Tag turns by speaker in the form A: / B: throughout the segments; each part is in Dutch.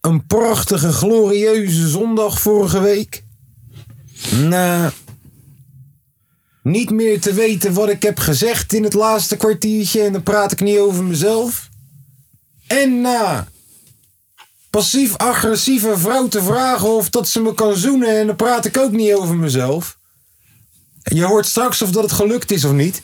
A: een prachtige, glorieuze zondag vorige week. Na niet meer te weten wat ik heb gezegd in het laatste kwartiertje. En dan praat ik niet over mezelf. En na passief-agressieve vrouw te vragen of dat ze me kan zoenen. En dan praat ik ook niet over mezelf. Je hoort straks of dat het gelukt is of niet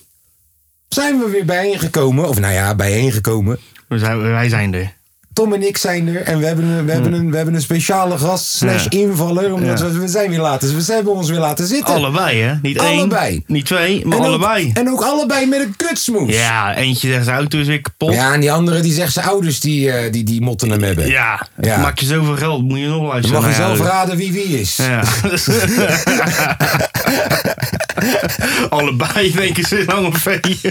A: zijn we weer bijeengekomen. Of nou ja, bijeengekomen.
B: We zijn, wij zijn er. Hmm.
A: Tom en ik zijn er en we hebben een, we hebben een, we hebben een speciale gast slash
B: Ja.
A: invaller. Omdat
B: Ja.
A: we, we zijn weer laten, we hebben ons weer laten zitten.
B: Allebei, hè? Niet
A: Allebei.
B: één, niet twee, maar
A: En ook-
B: allebei.
A: en ook allebei met een kutsmoes.
B: Ja, eentje zegt zijn auto is weer kapot. Ja,
A: Ja, en die andere die zegt zijn ouders die, eh, die, die motten hem hebben. Ja.
B: maak je zoveel geld, moet je nog
A: Je
B: luisteren.
A: mag
B: naar
A: jezelf
B: je
A: raden wie wie is.
B: ouders. Ja. allebei denken ze lange vee.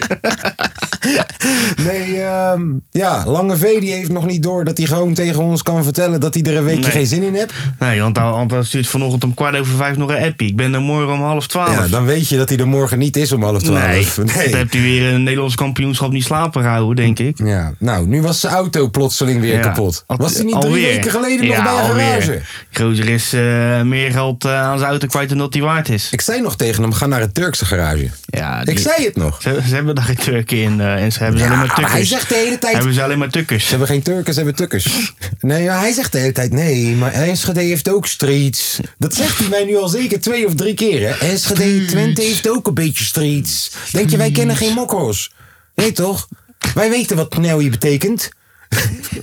A: Nee, ehm, ja, Lange V die heeft nog niet door dat hij gewoon tegen ons kan vertellen dat hij er een weekje
B: Nee.
A: geen zin in hebt.
B: Nee, want hij- want hij stuurt vanochtend om kwart over vijf nog een appie. Ik ben er morgen om half twaalf.
A: Ja, dan weet je dat hij er morgen niet is om half
B: nee,
A: twaalf.
B: dan hebt hij weer een Nederlands kampioenschap niet slapen gehouden, denk ik.
A: Ja, nou, nu was zijn auto plotseling weer
B: Ja,
A: kapot.
B: al-
A: Was hij niet drie
B: alweer.
A: weken geleden nog
B: Ja,
A: bij een
B: alweer.
A: garage?
B: Gozer is eh, meer geld eh, aan zijn auto kwijt dan dat hij waard is.
A: Ik zei nog tegen hem, ga naar het Turkse garage.
B: Ja,
A: Ik
B: die-
A: zei het nog. Ze
B: Ze, ze hebben daar geen Turken in eh, en ze hebben ze alleen maar
A: maar
B: tukkers.
A: hij zegt de hele tijd-
B: Hebben ze alleen maar tukkers.
A: hebben geen Turken, ze hebben Tukkers. Nee, ja, hij zegt de hele tijd, nee, maar Enschede heeft ook streets. Dat zegt hij mij nu al zeker twee of drie keer. Hè? Enschede, Twente heeft ook een beetje streets. Denk je, wij kennen geen mokko's? Nee, toch? Wij weten wat knelje betekent.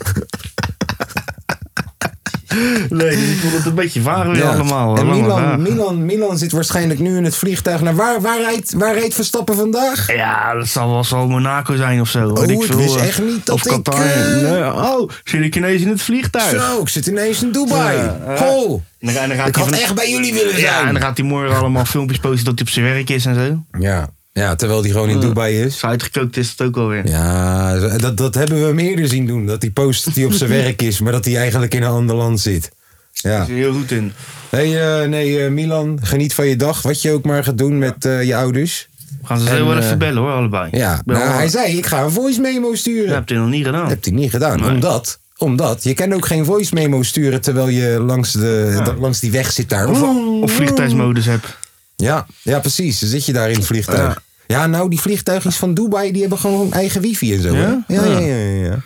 B: Nee, ik vond het een beetje varen weer
A: Ja.
B: Oh, allemaal.
A: En
B: Lange
A: Milan,
B: vragen.
A: Milan, Milan zit waarschijnlijk nu in het vliegtuig. Naar waar, waar, rijdt, waar rijdt Verstappen vandaag?
B: Ja, dat zal wel zal Monaco zijn of zo. weet
A: ik Oh, wist
B: eh,
A: echt niet dat
B: of
A: ik,
B: Qatar.
A: eh,
B: Nee, oh, zit ik ineens in het vliegtuig.
A: Zo, ik zit ineens in Dubai.
B: Ja, ja.
A: Ho,
B: En dan, en dan gaat
A: ik
B: hij
A: had
B: van-
A: echt bij jullie willen
B: Ja, en dan
A: zijn.
B: gaat hij morgen allemaal filmpjes posten dat hij op zijn werk is en zo.
A: Ja, ja terwijl die gewoon in Dubai is.
B: Als hij uitgekookt Eh, is, dat ook alweer.
A: Ja, dat, dat hebben we hem eerder zien doen. Dat hij post dat hij op zijn werk is, maar dat hij eigenlijk in een ander land zit. Ja.
B: Daar is hij heel goed in.
A: Hey, eh, nee, eh, Milan, geniet van je dag. Wat je ook maar gaat doen met eh, je ouders.
B: We gaan ze
A: En,
B: zo wel
A: eh,
B: even bellen hoor, allebei.
A: Ja,
B: Ik ben
A: nou,
B: wel-
A: hij zei, ik ga een voice memo
B: Dat
A: sturen.
B: heb je nog niet gedaan.
A: Dat heeft hij niet gedaan.
B: Nee.
A: Omdat, omdat, je kan ook geen voice memo sturen terwijl je langs, de, langs die weg zit daar.
B: Of, of vliegtuigsmodus heb.
A: Ja, ja precies. Dan zit je daar in het vliegtuig. Ja.
B: Ja.
A: nou, die vliegtuigjes van Dubai, die hebben gewoon eigen wifi en zo. hè?
B: Ja?
A: Ja, ja,
B: Ja.
A: ja. ja, ja.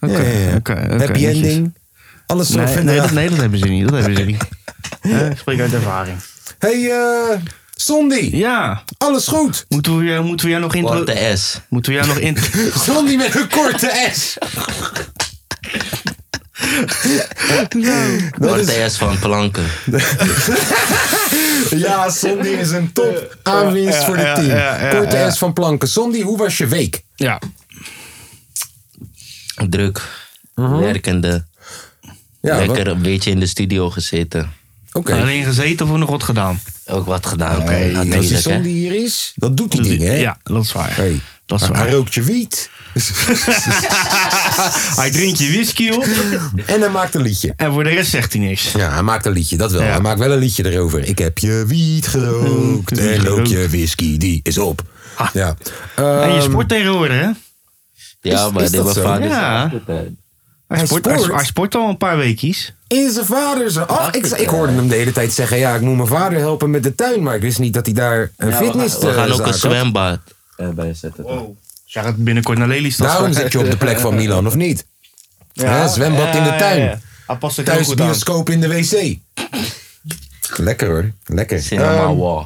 B: Oké,
A: Ja, ja, ja.
B: oké, oké,
A: Happy
B: netjes.
A: ending. Alles erop
B: Nee,
A: en
B: nee,
A: eraan.
B: dat, nee, dat hebben ze niet. Dat hebben ze niet. Eh, ik spreek uit ervaring.
A: Hey, eh Sondi.
B: Ja,
A: Alles goed.
B: moeten we, jou- moeten we jou nog intro...
C: What the S.
B: Moeten we jou nog intro...
A: Sondi met een korte S.
C: What the S van Planken.
A: Ja, Sondi is een top aanwinst voor dit
B: ja,
A: team.
B: ja, ja,
A: korte
B: ja.
A: S van Planken. Sondi, hoe was je week?
B: Ja.
C: Druk. Werkende.
A: Mhm. Ja, wat-
C: Lekker een beetje in de studio gezeten.
A: Oké.
B: Alleen gezeten of nog wat gedaan?
C: Ook wat gedaan.
A: Hey, nou, als die
C: natuurlijk, hè.
A: Sondi hier is, dat doet die
B: Dat-
A: ding, hè?
B: Ja, dat is waar.
A: Hey.
B: Dat is
A: Hij
B: waar.
A: rookt je wiet
B: Hij drinkt je whisky op
A: en hij maakt een liedje.
B: en voor de rest zegt hij niks.
A: Ja, hij maakt een liedje, dat wel.
B: Ja.
A: Hij maakt wel een liedje erover. Ik heb je wiet gerookt en loop je whisky, die is op.
B: Ah.
A: Ja.
B: En je
A: Ehm,
B: sport tegenwoordig, hè?
C: Ja,
A: Is-
C: maar
A: is
C: dit
A: dat
C: was
A: zo?
C: vader.
B: Ja. Hij sport, hij,
A: sport?
B: hij sport al een paar weekjes.
A: In zijn vader zijn... Oh, ik, ik hoorde hem de hele tijd zeggen, ja, ik moet mijn vader helpen met de tuin. Maar ik wist niet dat hij daar een
C: Ja,
A: fitness...
C: we gaan, we gaan
A: eh,
C: ook een
A: zaak had.
C: zwembad eh, bij zetten.
B: Oh. Ja, gaat binnenkort naar Lelystad.
A: Daarom zit je op de plek van Milan, of niet? Hè, zwembad in de tuin.
B: Hij past er heel
A: Thuis
B: goed aan.
A: bioscoop in de wc. Lekker hoor, lekker.
C: Cinema
A: Ehm,
C: Wall.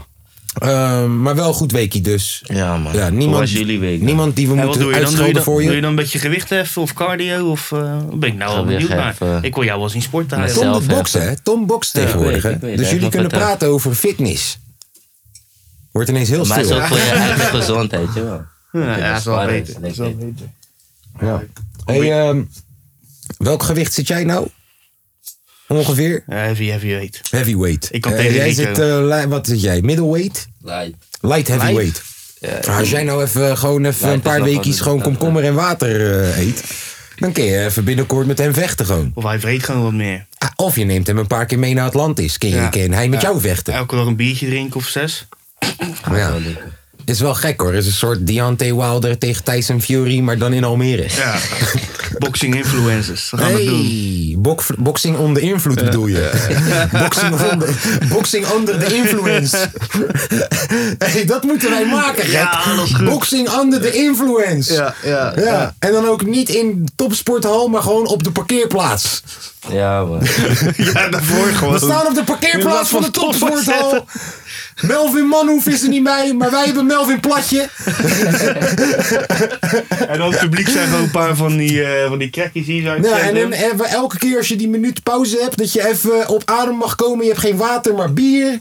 A: ehm, maar wel een goed weekie dus.
C: Ja, man.
A: Ja,
C: Hoe
A: niemand,
C: was jullie week? man?
A: niemand die we
B: En wat
A: moeten
B: doe je dan? Doe je
A: uitschelden
B: dan,
A: voor
B: doe je dan een beetje gewicht heffen of cardio? Of eh, ben ik nou wel
C: Gewicht
B: benieuwd naar?
C: heffen.
B: Ik wil jou wel zien
C: Met
B: sporten. eigenlijk.
A: Tom
C: zelf
A: de bokst,
C: even.
A: hè? Tom bokst tegenwoordig,
C: ik weet,
A: hè?
C: ik weet,
A: Dus
C: hè,
A: jullie
C: ik
A: kunnen
C: vertel.
A: praten over fitness. Wordt ineens heel
C: Maar het is
A: stil.
C: ook voor je eigen gezondheid, joh.
B: Ja, ja, dat is wel
C: Sparren,
B: beter. Dat is wel beter.
A: Ja. Hey, ehm, welk gewicht zit jij nou? ongeveer?
B: Ja, heavy, heavy weet.
A: Heavyweight.
B: Ik kan
A: Eh,
B: tegen
A: jij
B: Rico.
A: zit, eh, li- Wat zit jij? Middleweight?
C: Light.
A: Light heavyweight. Maar als jij nou even eh, gewoon even
C: Light
A: een
C: is
A: paar
C: nog
A: weekjes
C: wel-
A: gewoon komkommer en water eh, eet... dan kun je even binnenkort met hem vechten gewoon.
B: Of hij vreet gewoon wat meer.
A: Ah, Of je neemt hem een paar keer mee naar Atlantis. Kun je,
B: Ja.
A: kan hij met jou vechten.
B: Elke dag een biertje drinken of zes.
A: Ja. Is wel gek hoor. Is een soort Deontay Wilder tegen Tyson Fury, maar dan in Almere.
B: Ja. Boxing influencers. Dat gaan we doen.
A: Hey, bok- boxing onder invloed bedoel je? boxing, onder, boxing under the influence. hey, dat moeten wij maken, gek.
B: Ja, dat is goed.
A: Boxing under the influence.
B: Ja, ja,
A: ja. En dan ook niet in topsporthal, maar gewoon op de parkeerplaats.
C: Ja, man.
B: Ja, daarvoor gewoon.
A: We staan op de
B: In
A: parkeerplaats
B: plaats
A: van de
B: van
A: topsporthal.
B: topsporthal.
A: Melvin Manhoef is er niet bij, maar wij hebben Melvin Platje.
B: En dan het publiek zijn gewoon een paar van die, eh, van die krekjes hier. Zo
A: Ja, en dan hebben we elke keer als je die minuut pauze hebt, dat je even op adem mag komen. Je hebt geen water, maar bier.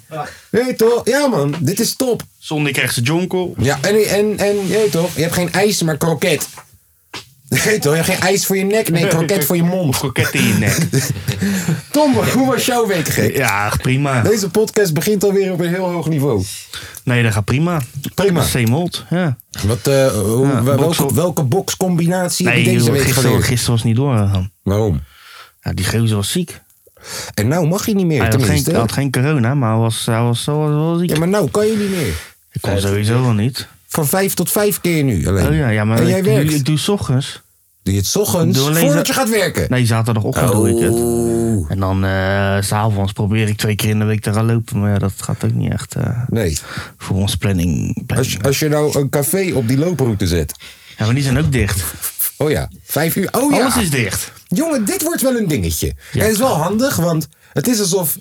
A: Weet je toch? Ja man, dit is top.
B: Zondag krijgt ze jonkel.
A: Ja, en, en, en je weet toch, je hebt geen ijs, maar kroket. Je weet toch, je hebt geen ijs voor je nek, nee, kroket voor je mond.
B: Kroket in je nek.
A: Tom, hoe was jouw week gek?
B: Ja, prima.
A: Deze podcast begint alweer op een heel hoog niveau.
B: Ah. Nee, dat gaat prima.
A: Prima.
B: Zeemold, ja.
A: Wat, eh, hoe-
B: Ja,
A: wa-
B: box
A: welke,
B: op.
A: welke boxcombinatie heb
B: Nee,
A: je deze
B: joh,
A: week
B: gisteren,
A: geleerd?
B: gisteren was niet doorgegaan.
A: Waarom?
B: Ja, die gozer was ziek.
A: En nou mag je niet meer,
B: Hij had geen,
A: tenminste.
B: hij had geen corona, maar hij was, hij was, zo- wel ziek.
A: Ja, maar nou kan je niet meer.
B: ik kon sowieso wel niet.
A: Van vijf tot vijf keer nu alleen.
B: Oh ja, ja maar
A: en jij
B: ik, doe-
A: werkt.
B: ik doe 's ochtends.
A: Doe je het 's ochtends
B: Doe alleen
A: voordat
B: zo-
A: je gaat werken? Oh.
B: Nee, zaterdagochtend doe ik het.
A: Oeh.
B: En dan eh, s s'avonds probeer ik twee keer in de week te gaan lopen. Maar ja, dat gaat ook niet echt eh,
A: Nee.
B: voor ons
A: Als,
B: planning.
A: je-
B: planning.
A: als je nou een café op die looproute zet.
B: Ja, maar die zijn ook dicht.
A: Oh ja, vijf uur. Oh ja.
B: Alles is dicht.
A: Jongen, dit wordt wel een dingetje. En het is wel handig, want het is alsof.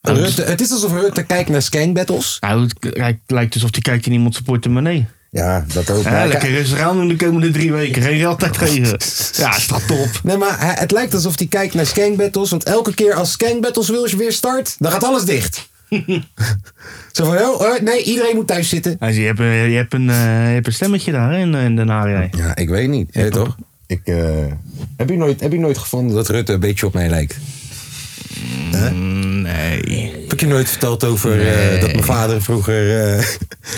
B: dus-
A: Rutte, het is alsof Rutte kijkt naar scanbattles.
B: Nou, het k- lijkt- lijkt alsof die kijkt in iemand zijn portemonnee.
A: Ja, dat ook.
B: Ja,
A: Maar-
B: lekker rustig aan doen de komende drie weken. Geen geld uitgeven. Ja, is toch top.
A: Nee, maar hij- het lijkt alsof hij kijkt naar scanbattles. Want elke keer als scanbattles wil je weer start, dan gaat alles dicht. Zo van, oh, eh, nee, iedereen moet thuis zitten.
B: Ja, zie, je, hebt, een- je, hebt een, eh, je hebt een stemmetje daar hè, in, eh, in Den Haag. jij.
A: Ja, ik weet niet. Ja, toch? Ik, eh, heb, je nooit, heb je nooit gevonden dat Rutte een beetje op mij lijkt?
B: Nee.
A: Heb ik je nooit verteld over eh, dat mijn vader vroeger eh,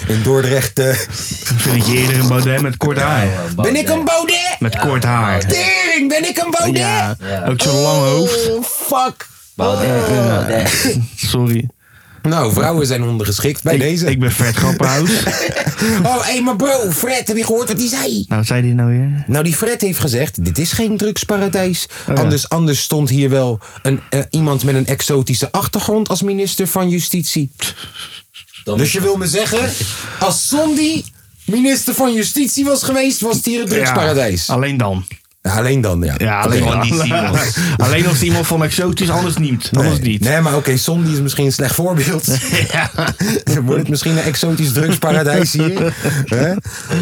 A: in Dordrecht... eh,
B: Vind je eerder een Baudet met kort haar?
A: ben ik een Baudet?
B: Met kort haar.
A: Tering, ben ik een Baudet?
B: Ja, ook zo'n lang hoofd.
A: Oh, fuck. Oh.
C: Baudet, Baudet.
B: Sorry.
A: Nou, vrouwen zijn ondergeschikt bij
B: Ik,
A: deze.
B: ik ben Fred Grappenhuis.
A: Oh, hé, maar bro, Fred, heb je gehoord wat hij zei?
B: nou, wat zei die nou weer? Oh,
A: Nou, die Fred heeft gezegd, dit is geen drugsparadijs.
B: ja.
A: Anders, anders stond hier wel een, eh, iemand met een exotische achtergrond als minister van Justitie.
C: Dan-
A: Dus je wil me zeggen, als Sondi minister van Justitie was geweest, was het hier een drugsparadijs.
B: Ja, alleen dan.
A: Ja, alleen dan, ja.
B: Ja, alleen
C: Van
B: dan.
C: die Simons.
B: alleen als iemand van exotisch, anders niet. Anders
A: Nee.
B: niet.
A: Nee, maar oké, Sondi is misschien een slecht voorbeeld. Dan Wordt het misschien een exotisch drugsparadijs hier? Hè?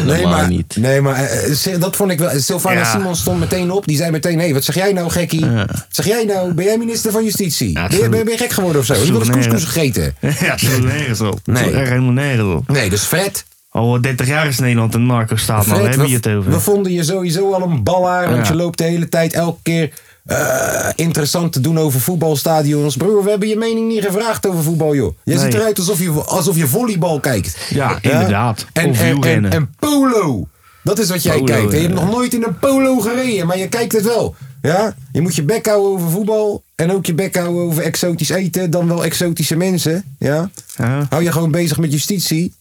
A: Nee, maar,
C: niet.
A: Nee, maar eh, Sil- dat vond ik wel. Sylvana
B: Ja.
A: Simons stond meteen op. Die zei meteen: hé, wat zeg jij nou, gekkie? Zeg jij nou, ben jij minister van Justitie?
B: Ja,
A: ben, je,
B: zo-
A: ben je gek geworden of zo? Je
B: zo
A: wil eens
B: nee,
A: couscous
B: ja.
A: gegeten.
B: Ja, ze doen nergens op.
A: Nee.
B: Nee. Echt helemaal nergens op.
A: Nee, dus Fred.
B: Al 30 jaar is Nederland een narco-staat, man. nou, Daar
A: Fred,
B: hebben je
A: we,
B: het over.
A: we vonden je sowieso al een ballaar. Want
B: Ja.
A: je loopt de hele tijd elke keer eh, interessant te doen over voetbalstadions. Broer, we hebben je mening niet gevraagd over voetbal, joh. Je
B: Nee.
A: ziet eruit alsof je, alsof je volleybal kijkt.
B: Ja, inderdaad.
A: En,
B: Of
A: en, en,
B: wielrennen.
A: en polo. Dat is wat jij
B: Polo,
A: kijkt. hè. Je hebt
B: ja.
A: nog nooit in een polo gereden, maar je kijkt het wel. Ja? Je moet je bek houden over voetbal. En ook je bek houden over exotisch eten. Dan wel exotische mensen. Ja?
B: Ja.
A: Hou je gewoon bezig met justitie.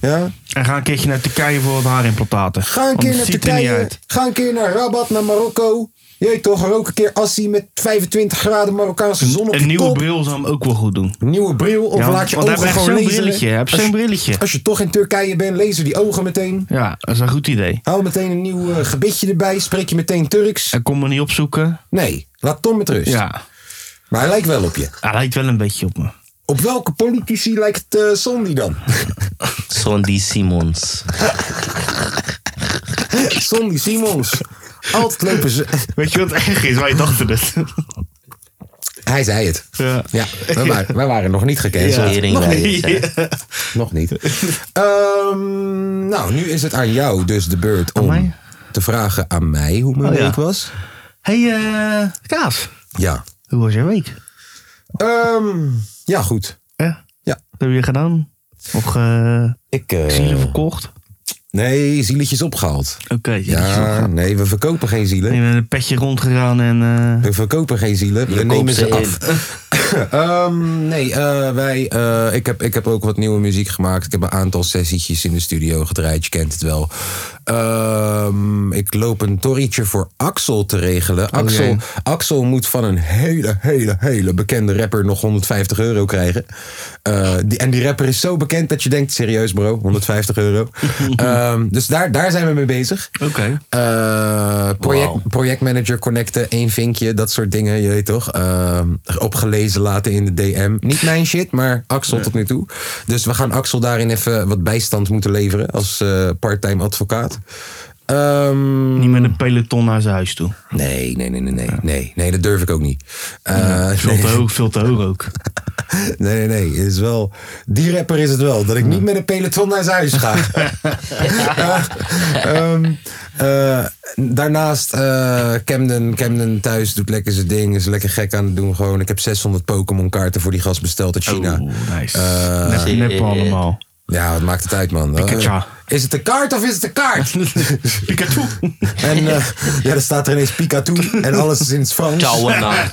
A: Ja?
B: En ga een keertje naar Turkije voor wat haarimplantaten.
A: Ga een
B: Want
A: keer
B: het
A: naar
B: ziet er niet
A: Turkije.
B: uit.
A: Ga een keer naar Rabat, naar Marokko. Jeet toch, rook een keer Assi met 25 graden Marokkaanse zon op
B: Een
A: je
B: nieuwe
A: kop.
B: bril zou hem ook wel goed doen.
A: Een nieuwe bril. Of
B: Ja,
A: laat je
B: want
A: ogen
B: hij heeft
A: gewoon
B: zo'n
A: lezen.
B: brilletje, hij heeft
A: Als je-
B: zo'n brilletje.
A: Als je toch in Turkije bent, lezen die ogen meteen.
B: Ja, dat is een goed idee.
A: Hou meteen een nieuw eh, gebitje erbij. Spreek je meteen Turks?
B: En kom me niet opzoeken.
A: Nee, laat Tom met rust.
B: Ja,
A: Maar hij lijkt wel op je.
B: hij lijkt wel een beetje op me.
A: Op welke politici lijkt eh Sondi dan?
C: Sondi Simons.
A: Sondi Simons. Altijd lopen ze...
B: Weet je wat erg is? Wij dachten het.
A: Hij zei het.
B: Ja.
A: Ja, wij waren, wij waren nog niet gecanceld.
C: Teringwijs, hè.
A: Nog niet. Ehm, nou, nu is het aan jou dus de beurt om
B: mij?
A: te vragen aan mij hoe mijn
B: Oh, ja.
A: week was.
B: Hey, eh, Kaas.
A: Ja.
B: Hoe was jouw week?
A: Ehm, ja, goed.
B: Ja?
A: Ja.
B: Wat heb je gedaan? Of eh
A: Ik, eh,
B: zielen verkocht?
A: Nee, zieletjes opgehaald.
B: Oké.
A: Ja, nee, we verkopen geen zielen.
B: Je bent een petje rondgegaan en... eh,
A: We verkopen geen zielen, we
C: Je
A: nemen
C: koopt
A: ze
C: ze
A: af. Ehm, nee, eh, wij, eh, ik, heb, ik heb ook wat nieuwe muziek gemaakt. Ik heb een aantal sessietjes in de studio gedraaid, je kent het wel. Ehm, ik loop een torrietje voor Axel te regelen. Axel,
B: Oh, jee.
A: Axel moet van een hele, hele, hele bekende rapper nog 150 euro krijgen. Eh, die, en die rapper is zo bekend dat je denkt, serieus bro, 150 euro. Ehm, dus daar, daar zijn we mee bezig.
B: Oké.
A: Eh, project, projectmanager connecten, één vinkje, dat soort dingen, je weet toch? Eh, opgelezen laten in de DM. Niet mijn shit, maar Axel tot nu toe. Dus we gaan Axel daarin even wat bijstand moeten leveren als eh parttime advocaat. Ehm,
B: Niet met een peloton naar zijn huis toe.
A: nee, nee, nee, nee, nee, nee, nee, dat durf ik ook niet. Eh,
B: Veel te hoog, veel te hoog ook.
A: nee, nee, nee, is wel, die rapper is het wel, dat ik niet met een peloton naar zijn huis ga. Ehm, eh, daarnaast, eh, Camden, Camden thuis doet lekker zijn ding. Is lekker gek aan het doen. Gewoon. Ik heb 600 Pokémon kaarten voor die gast besteld uit China.
B: Oeh, nice.
A: Eh,
B: Nep-
C: shit.
B: Nep allemaal.
A: Ja, wat maakt het uit, man. Eh,
B: Pikachu.
A: Is het een kaart of is het een kaart?
B: Pikachu.
A: en eh, ja, dan staat er ineens Pikachu en alles is in het Frans.
C: Ciao, na.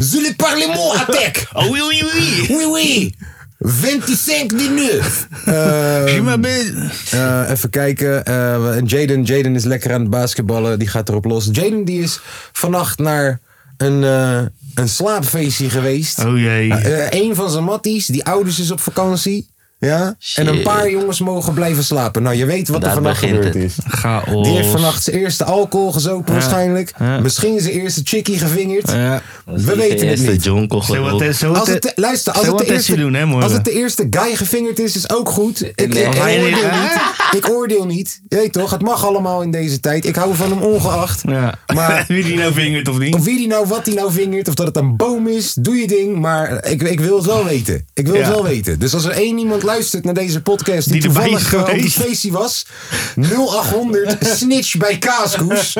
A: Zullen parlement attack?
B: Oh, oui, oui, oui.
A: Oui, oui. 25 minuten. Eh,
B: Prima ben-
A: Eh, even kijken. Eh, en Jaden. Jaden is lekker aan het basketballen. Die gaat erop los. Jaden die is vannacht naar een, eh, een slaapfeestje geweest. Eh,
B: Oh jee.
A: een van zijn matties. Die ouders is op vakantie. Ja? En
C: Shit.
A: een paar jongens mogen blijven slapen. Nou, je weet wat er
C: Daar
A: vannacht
C: begint
A: gebeurd
C: het.
A: is.
B: Chaos.
A: Die heeft vannacht zijn eerste alcohol gezopen waarschijnlijk.
B: Ja.
A: Misschien zijn eerste chickie gevingerd.
B: Ja.
A: We weten het niet.
C: jonkel
B: Zo wat,
C: gelookt.
B: zo
A: Als
B: wat,
A: het, de- luister, als
B: zo
A: het,
B: wat
A: de
B: testje
A: eerste,
B: doen, hè,
A: als
B: morgen.
A: het de eerste guy gevingerd is, is ook goed. Ik, ik,
C: Nee.
A: ik
B: Nee, nee,
A: oordeel
B: nee.
A: niet. Ik oordeel niet. Je weet toch, het mag allemaal in deze tijd. Ik hou van hem ongeacht.
B: Ja.
A: Maar-
B: Wie die nou vingert of niet?
A: Of wie die nou, wat die nou vingert, of dat het een boom is, doe je ding. Maar ik, ik wil het wel weten. Ik wil
B: Ja.
A: het wel weten. Dus als er één iemand luistert naar deze podcast die,
B: Die erbij is
A: toevallig eh, op het
B: geweest.
A: feestje was, 0800 snitch bij Kaaskoes.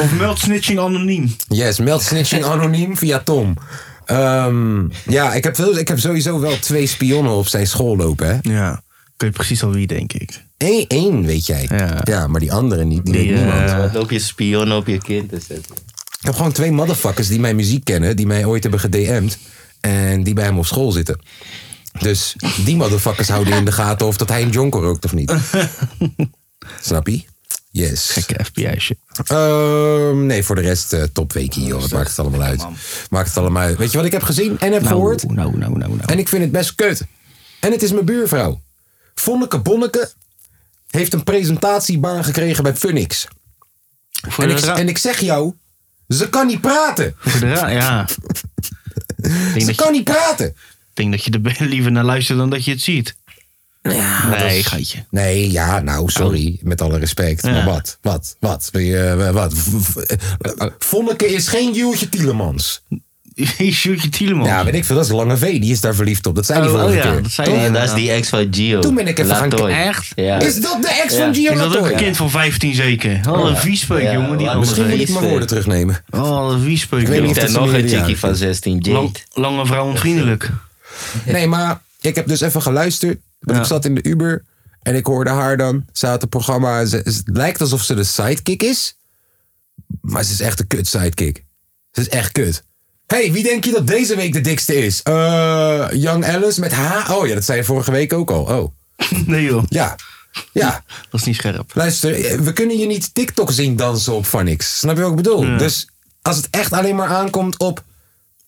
B: Of meld snitching anoniem.
A: Yes, meld snitching anoniem via Tom. Ehm, ja, ik heb, veel, ik heb sowieso wel twee spionnen op zijn school lopen. Hè?
B: Ja. Kun je precies al wie, denk ik.
A: Eén, één weet jij. Ja.
B: Ja.
A: maar die andere niet. Die,
B: Die,
A: weet niemand.
B: eh,
C: Om Op je spion op je kind te zetten.
A: Ik heb gewoon twee motherfuckers die mijn muziek kennen, die mij ooit hebben gedM'd. En die bij hem op school zitten. Dus die motherfuckers houden in de gaten of dat hij een jonker rookt of niet. Snap je? Yes.
B: gekke FBI shit.
A: Ehm, nee, voor de rest eh topweekie, joh. Het maakt het allemaal uit. Maakt het allemaal uit. Weet je wat ik heb gezien en heb gehoord?
B: Nou, nou, nou, nou.
A: En ik vind het best kut. En het is mijn buurvrouw. Vonneke Bonneke heeft een presentatiebaan gekregen bij Funix.
B: voor
A: En
B: de
A: ik,
B: ra-
A: en ik zeg jou, ze kan niet praten.
B: voor de ra- ja. Ik denk,
A: Ze
B: dat je,
A: kan niet praten.
B: ik denk dat je er be- liever naar luistert dan dat je het ziet. nee, gaatje.
A: Nee, ja, nou, sorry.
B: Oh.
A: Met alle respect. Maar wat? Wat? Wat? Wil je, eh, wat? V- v- eh, eh, Vonneke is geen Juweltje Tielemans.
B: Sjoerdje Tielemans.
A: Ja, weet ik veel. Dat is Lange V. Die is daar verliefd op. Dat zei hij
B: Oh,
A: vorige
B: oh ja,
A: keer.
B: dat zei
A: Toch?
B: hij.
C: En dat is die ex van Gio.
A: Toen ben ik even gaan
C: Latoy.
A: kijken.
B: Echt?
C: Ja.
A: Is dat de ex van
B: Is
A: Gio
B: dat ook een
A: Latoy?
B: kind van 15 zeker? Al een viespeuk,
C: Ja,
B: jongen. Die
C: laat-
A: Misschien moet ik mijn
C: Is, eh,
A: woorden terugnemen.
B: Al een viespeuk,
A: Ik weet
B: jongen.
A: niet of
C: Heeft hij
A: dat ze
C: nog
A: meer
C: een chickie
A: jaren
C: van 16
B: Lang-
C: Jade?
B: lange vrouw onvriendelijk.
A: Nee, maar ik heb dus even geluisterd. Want
B: Ja.
A: ik zat in de Uber en ik hoorde haar dan. Ze had een programma. Ze, het lijkt alsof ze de sidekick is. Maar ze is echt een kut sidekick. Ze is echt kut. hey, wie denk je dat deze week de dikste is? Eh, Young Alice met H. Oh ja, dat zei je vorige week ook al. Oh,
B: Nee joh,
A: ja. Ja,
B: dat is niet scherp.
A: luister. eh, We kunnen je niet TikTok zien dansen op Vanix. Snap je wat ik bedoel? Dus als het echt alleen maar aankomt op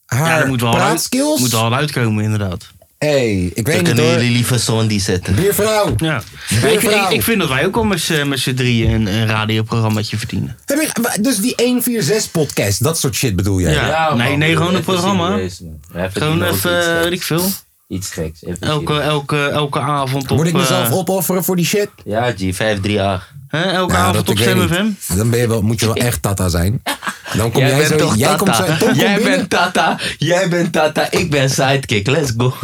B: Ja,
A: haar
B: dat moet wel, uit,
A: praatskills.
B: moet wel uitkomen inderdaad.
A: hey, ik weet
C: Dan
A: niet
C: kunnen
A: hoor.
C: jullie liever Sondi zetten.
A: Biervrouw.
B: Ja. Ik, ik, ik vind dat wij ook wel met z'n met z'n drieën een, een radioprogrammaatje verdienen.
A: Heb je- dus die 146-podcast, dat soort shit bedoel jij?
B: Ja. nee, nee, gewoon een programma. Gewoon even, weet ik veel.
C: Iets geks. even
B: Elke,
C: serieus.
B: elke, elke avond op...
A: Dus Moet ik mezelf
B: eh,
A: opofferen voor die shit?
C: Ja, G, 538.
B: Hè, elke
A: Nou,
B: avond op
A: ik weet
B: Stem
A: niet.
B: FM.
A: Dan ben je wel, moet je wel echt Tata zijn. Dan kom jij,
C: bent
A: zo,
C: toch
A: jij
C: Tata.
A: komt zo. Tom komt
C: jij
A: binnen.
C: bent Tata. Jij bent Tata. Ik ben sidekick. Let's go.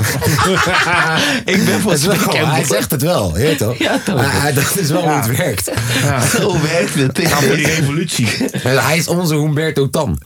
C: ik ben
A: Dat
C: voor
A: is wel- hij
C: Speckenbos.
A: zegt het wel, je weet toch?
C: Ja, toch.
D: Ah,
A: Maar hij- dat is wel hoe het werkt.
C: Zo werkt het.
B: Gaan voor die revolutie.
A: Hij is onze Humberto Tan.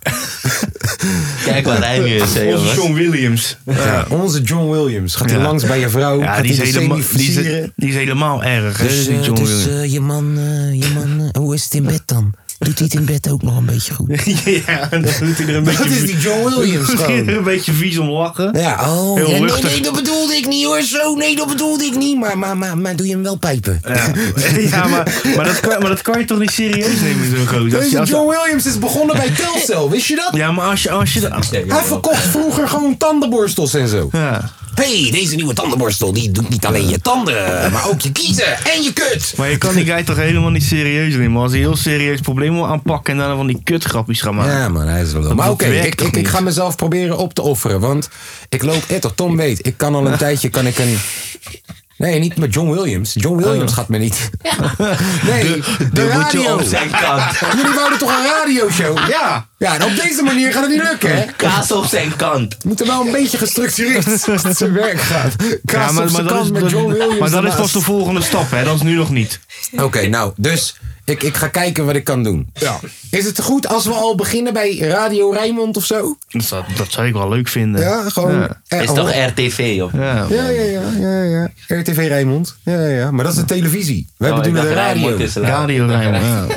C: Kijk waar hij nu is, hè,
B: Onze
C: jongens.
B: John Williams.
A: Ja, Onze John Williams. Gaat hij
B: Ja.
A: langs bij je vrouw?
B: Ja,
A: gaat
B: die is,
A: hij de
B: helemaal, die, is,
A: semi-versieren?
B: die is helemaal erg. hè,
D: Dus,
B: die
D: eh,
B: John
D: dus,
B: Williams.
D: eh, je man, eh, je man eh, hoe is het in bed dan? Doet hij het in bed ook nog een beetje goed?
B: ja, dan doet hij er een
A: Dat
B: beetje...
A: is die John Williams
B: doet hij
A: gewoon.
B: er een beetje vies om lachen.
A: Ja,
D: Oh,
B: Heel
D: ja, nee,
B: luchtig.
D: nee, dat bedoelde ik niet hoor. Zo, nee, dat bedoelde ik niet. Maar, maar, maar, maar doe je hem wel pijpen?
B: Ja, maar, maar, dat kan, maar dat kan je toch niet serieus nemen, zo'n gozer? Als je-
A: Deze
B: als-
A: John Williams is begonnen bij Telcel, wist je dat?
B: Ja, maar als je... Als je
A: Hij verkocht vroeger gewoon tandenborstels en zo.
B: ja.
D: hey, deze nieuwe tandenborstel, die doet niet alleen je tanden, maar ook je kiezen en je kut.
B: Maar je kan die guy toch helemaal niet serieus nemen. Als hij heel serieus problemen wil aanpakken en dan van die kutgrapjes gaat maken.
A: Ja, man, hij is wel leuk. Maar
B: dat
A: oké,
B: werkt
A: ik,
B: toch
A: ik, ik
B: niet?
A: ga mezelf proberen op te offeren. Want ik loop, eh, toch, Tom weet, ik kan al een tijdje, kan ik een... Nee, niet met John Williams. John Williams gaat me niet. Nee, de,
C: Oh. Moet je
A: radio.
C: op zijn kant.
A: Jullie wouden toch een radioshow?
B: Ja.
A: Ja, en op deze manier gaat het niet lukken, hè?
C: Kaas op zijn kant.
A: We moeten wel een beetje gestructureerd aan zijn werk gaan. Kaas op zijn kant met John Williams
B: maar dat is
A: ernaast.
B: pas de volgende stap, hè? Dat is nu nog niet.
A: Oké, nou, dus ik, ik ga kijken wat ik kan doen. Ja. Is het goed als we al beginnen bij Radio Rijnmond of zo?
B: Dus dat, dat zou ik wel leuk vinden.
A: Ja, gewoon...
B: Ja.
A: eh,
C: Is
A: oh.
C: toch RTV, joh.
B: Ja.
A: Ja, ja, ja, ja, ja. RTV Rijnmond. Ja, ja, ja. Maar dat is de televisie. Wij
C: Oh, ik
A: bedoelen de
C: dacht,
A: radio.
C: Rijnmond is laat.
B: Radio Rijnmond. Ja.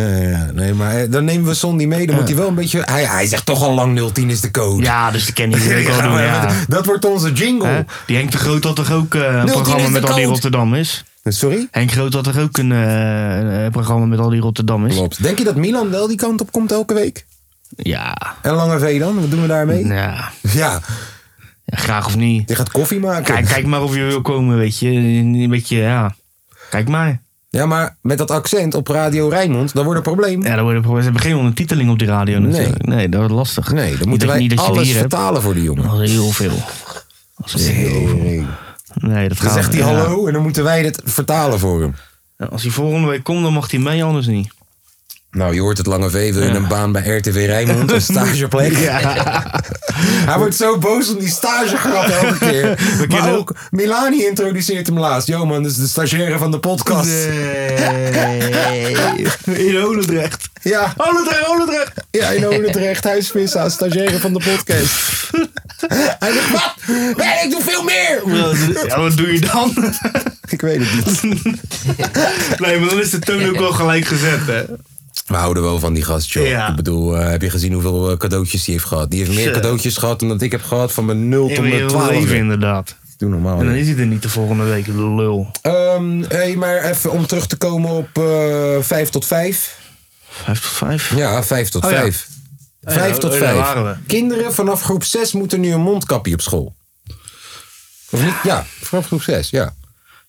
A: Ja, ja, ja. Nee, maar eh, dan nemen we Son niet mee. Dan moet hij wel een beetje... Hij, hij zegt toch al lang 010 is de code.
B: ja, dus dat ken je natuurlijk wel doen,
A: maar
B: ja.
A: dat- Oh, Dat wordt onze jingle.
B: Hè? Die Henk de Groot had toch ook eh, een
A: is
B: programma
A: de
B: met al die
A: code.
B: Rotterdam is?
A: Sorry?
B: Henk Groot had toch ook een eh, eh, programma met al die Rotterdam is?
A: Klopt. Denk je dat Milan wel die kant op komt elke week?
B: Ja.
A: En Lange V dan? Wat doen we daarmee?
B: ja.
A: Ja,
B: Ja, Graag of niet.
A: die gaat koffie maken.
B: Kijk, kijk maar of je wil komen, weet je. Een beetje, ja. Kijk maar.
A: Ja, maar met dat accent op Radio Rijnmond, dan wordt een probleem.
B: Ja, dan worden we- ze hebben geen ondertiteling op die radio natuurlijk. Nee, dat wordt lastig.
A: Nee, dan
B: Ik
A: moeten
B: denk
A: wij
B: niet dat je
A: alles
B: hier hebt.
A: vertalen voor die jongen.
B: Dat is heel veel. Dat is heel veel. Nee, dat
A: Dan
B: gaat
A: zegt hij
B: ja.
A: hallo en dan moeten wij dit vertalen voor hem.
B: Ja, Als hij volgende week komt, dan mag hij mee, anders niet.
A: Nou, je hoort het lange V. Wil je een baan bij RTV Rijnmond? Een stageplek? Hij wordt zo boos om die stagegrap elke keer.
B: We
A: maar
B: kennen
A: ook Milani introduceert hem laatst. Yo man, dat is de stagiaire van de podcast.
B: In Holendrecht.
A: Ja,
B: Holendrecht, Holendrecht.
A: ja, in Holendrecht, huisvissa, stagiaire van de podcast. Hij zegt, wat? Nee, ik doe veel meer!
B: Ja, wat doe je dan?
A: Ik weet het niet.
B: Nee, maar dan is de toon ook wel gelijk gezet, hè.
A: We houden wel van die gast, joh.
B: Ja.
A: Ik bedoel, eh, heb je gezien hoeveel eh, cadeautjes die heeft gehad? Die heeft meer
B: Zo.
A: cadeautjes gehad dan dat ik heb gehad van mijn 0 tot
B: In
A: mijn
B: je
A: 12.
B: leven, inderdaad.
A: Doe
C: Oh,
A: normaal.
B: En dan
A: joh.
B: is hij er niet de volgende week, lul.
A: Ehm, hey, maar even om terug te komen op eh 5 tot 5.
B: Vijf tot vijf.
A: Ja, 5 tot
B: Oh, ja.
A: 5. 5
B: ja,
A: tot
B: daar
A: 5.
B: waren we.
A: Kinderen vanaf groep 6 moeten nu een mondkapje op school. Of niet? Ja, vanaf groep 6, ja.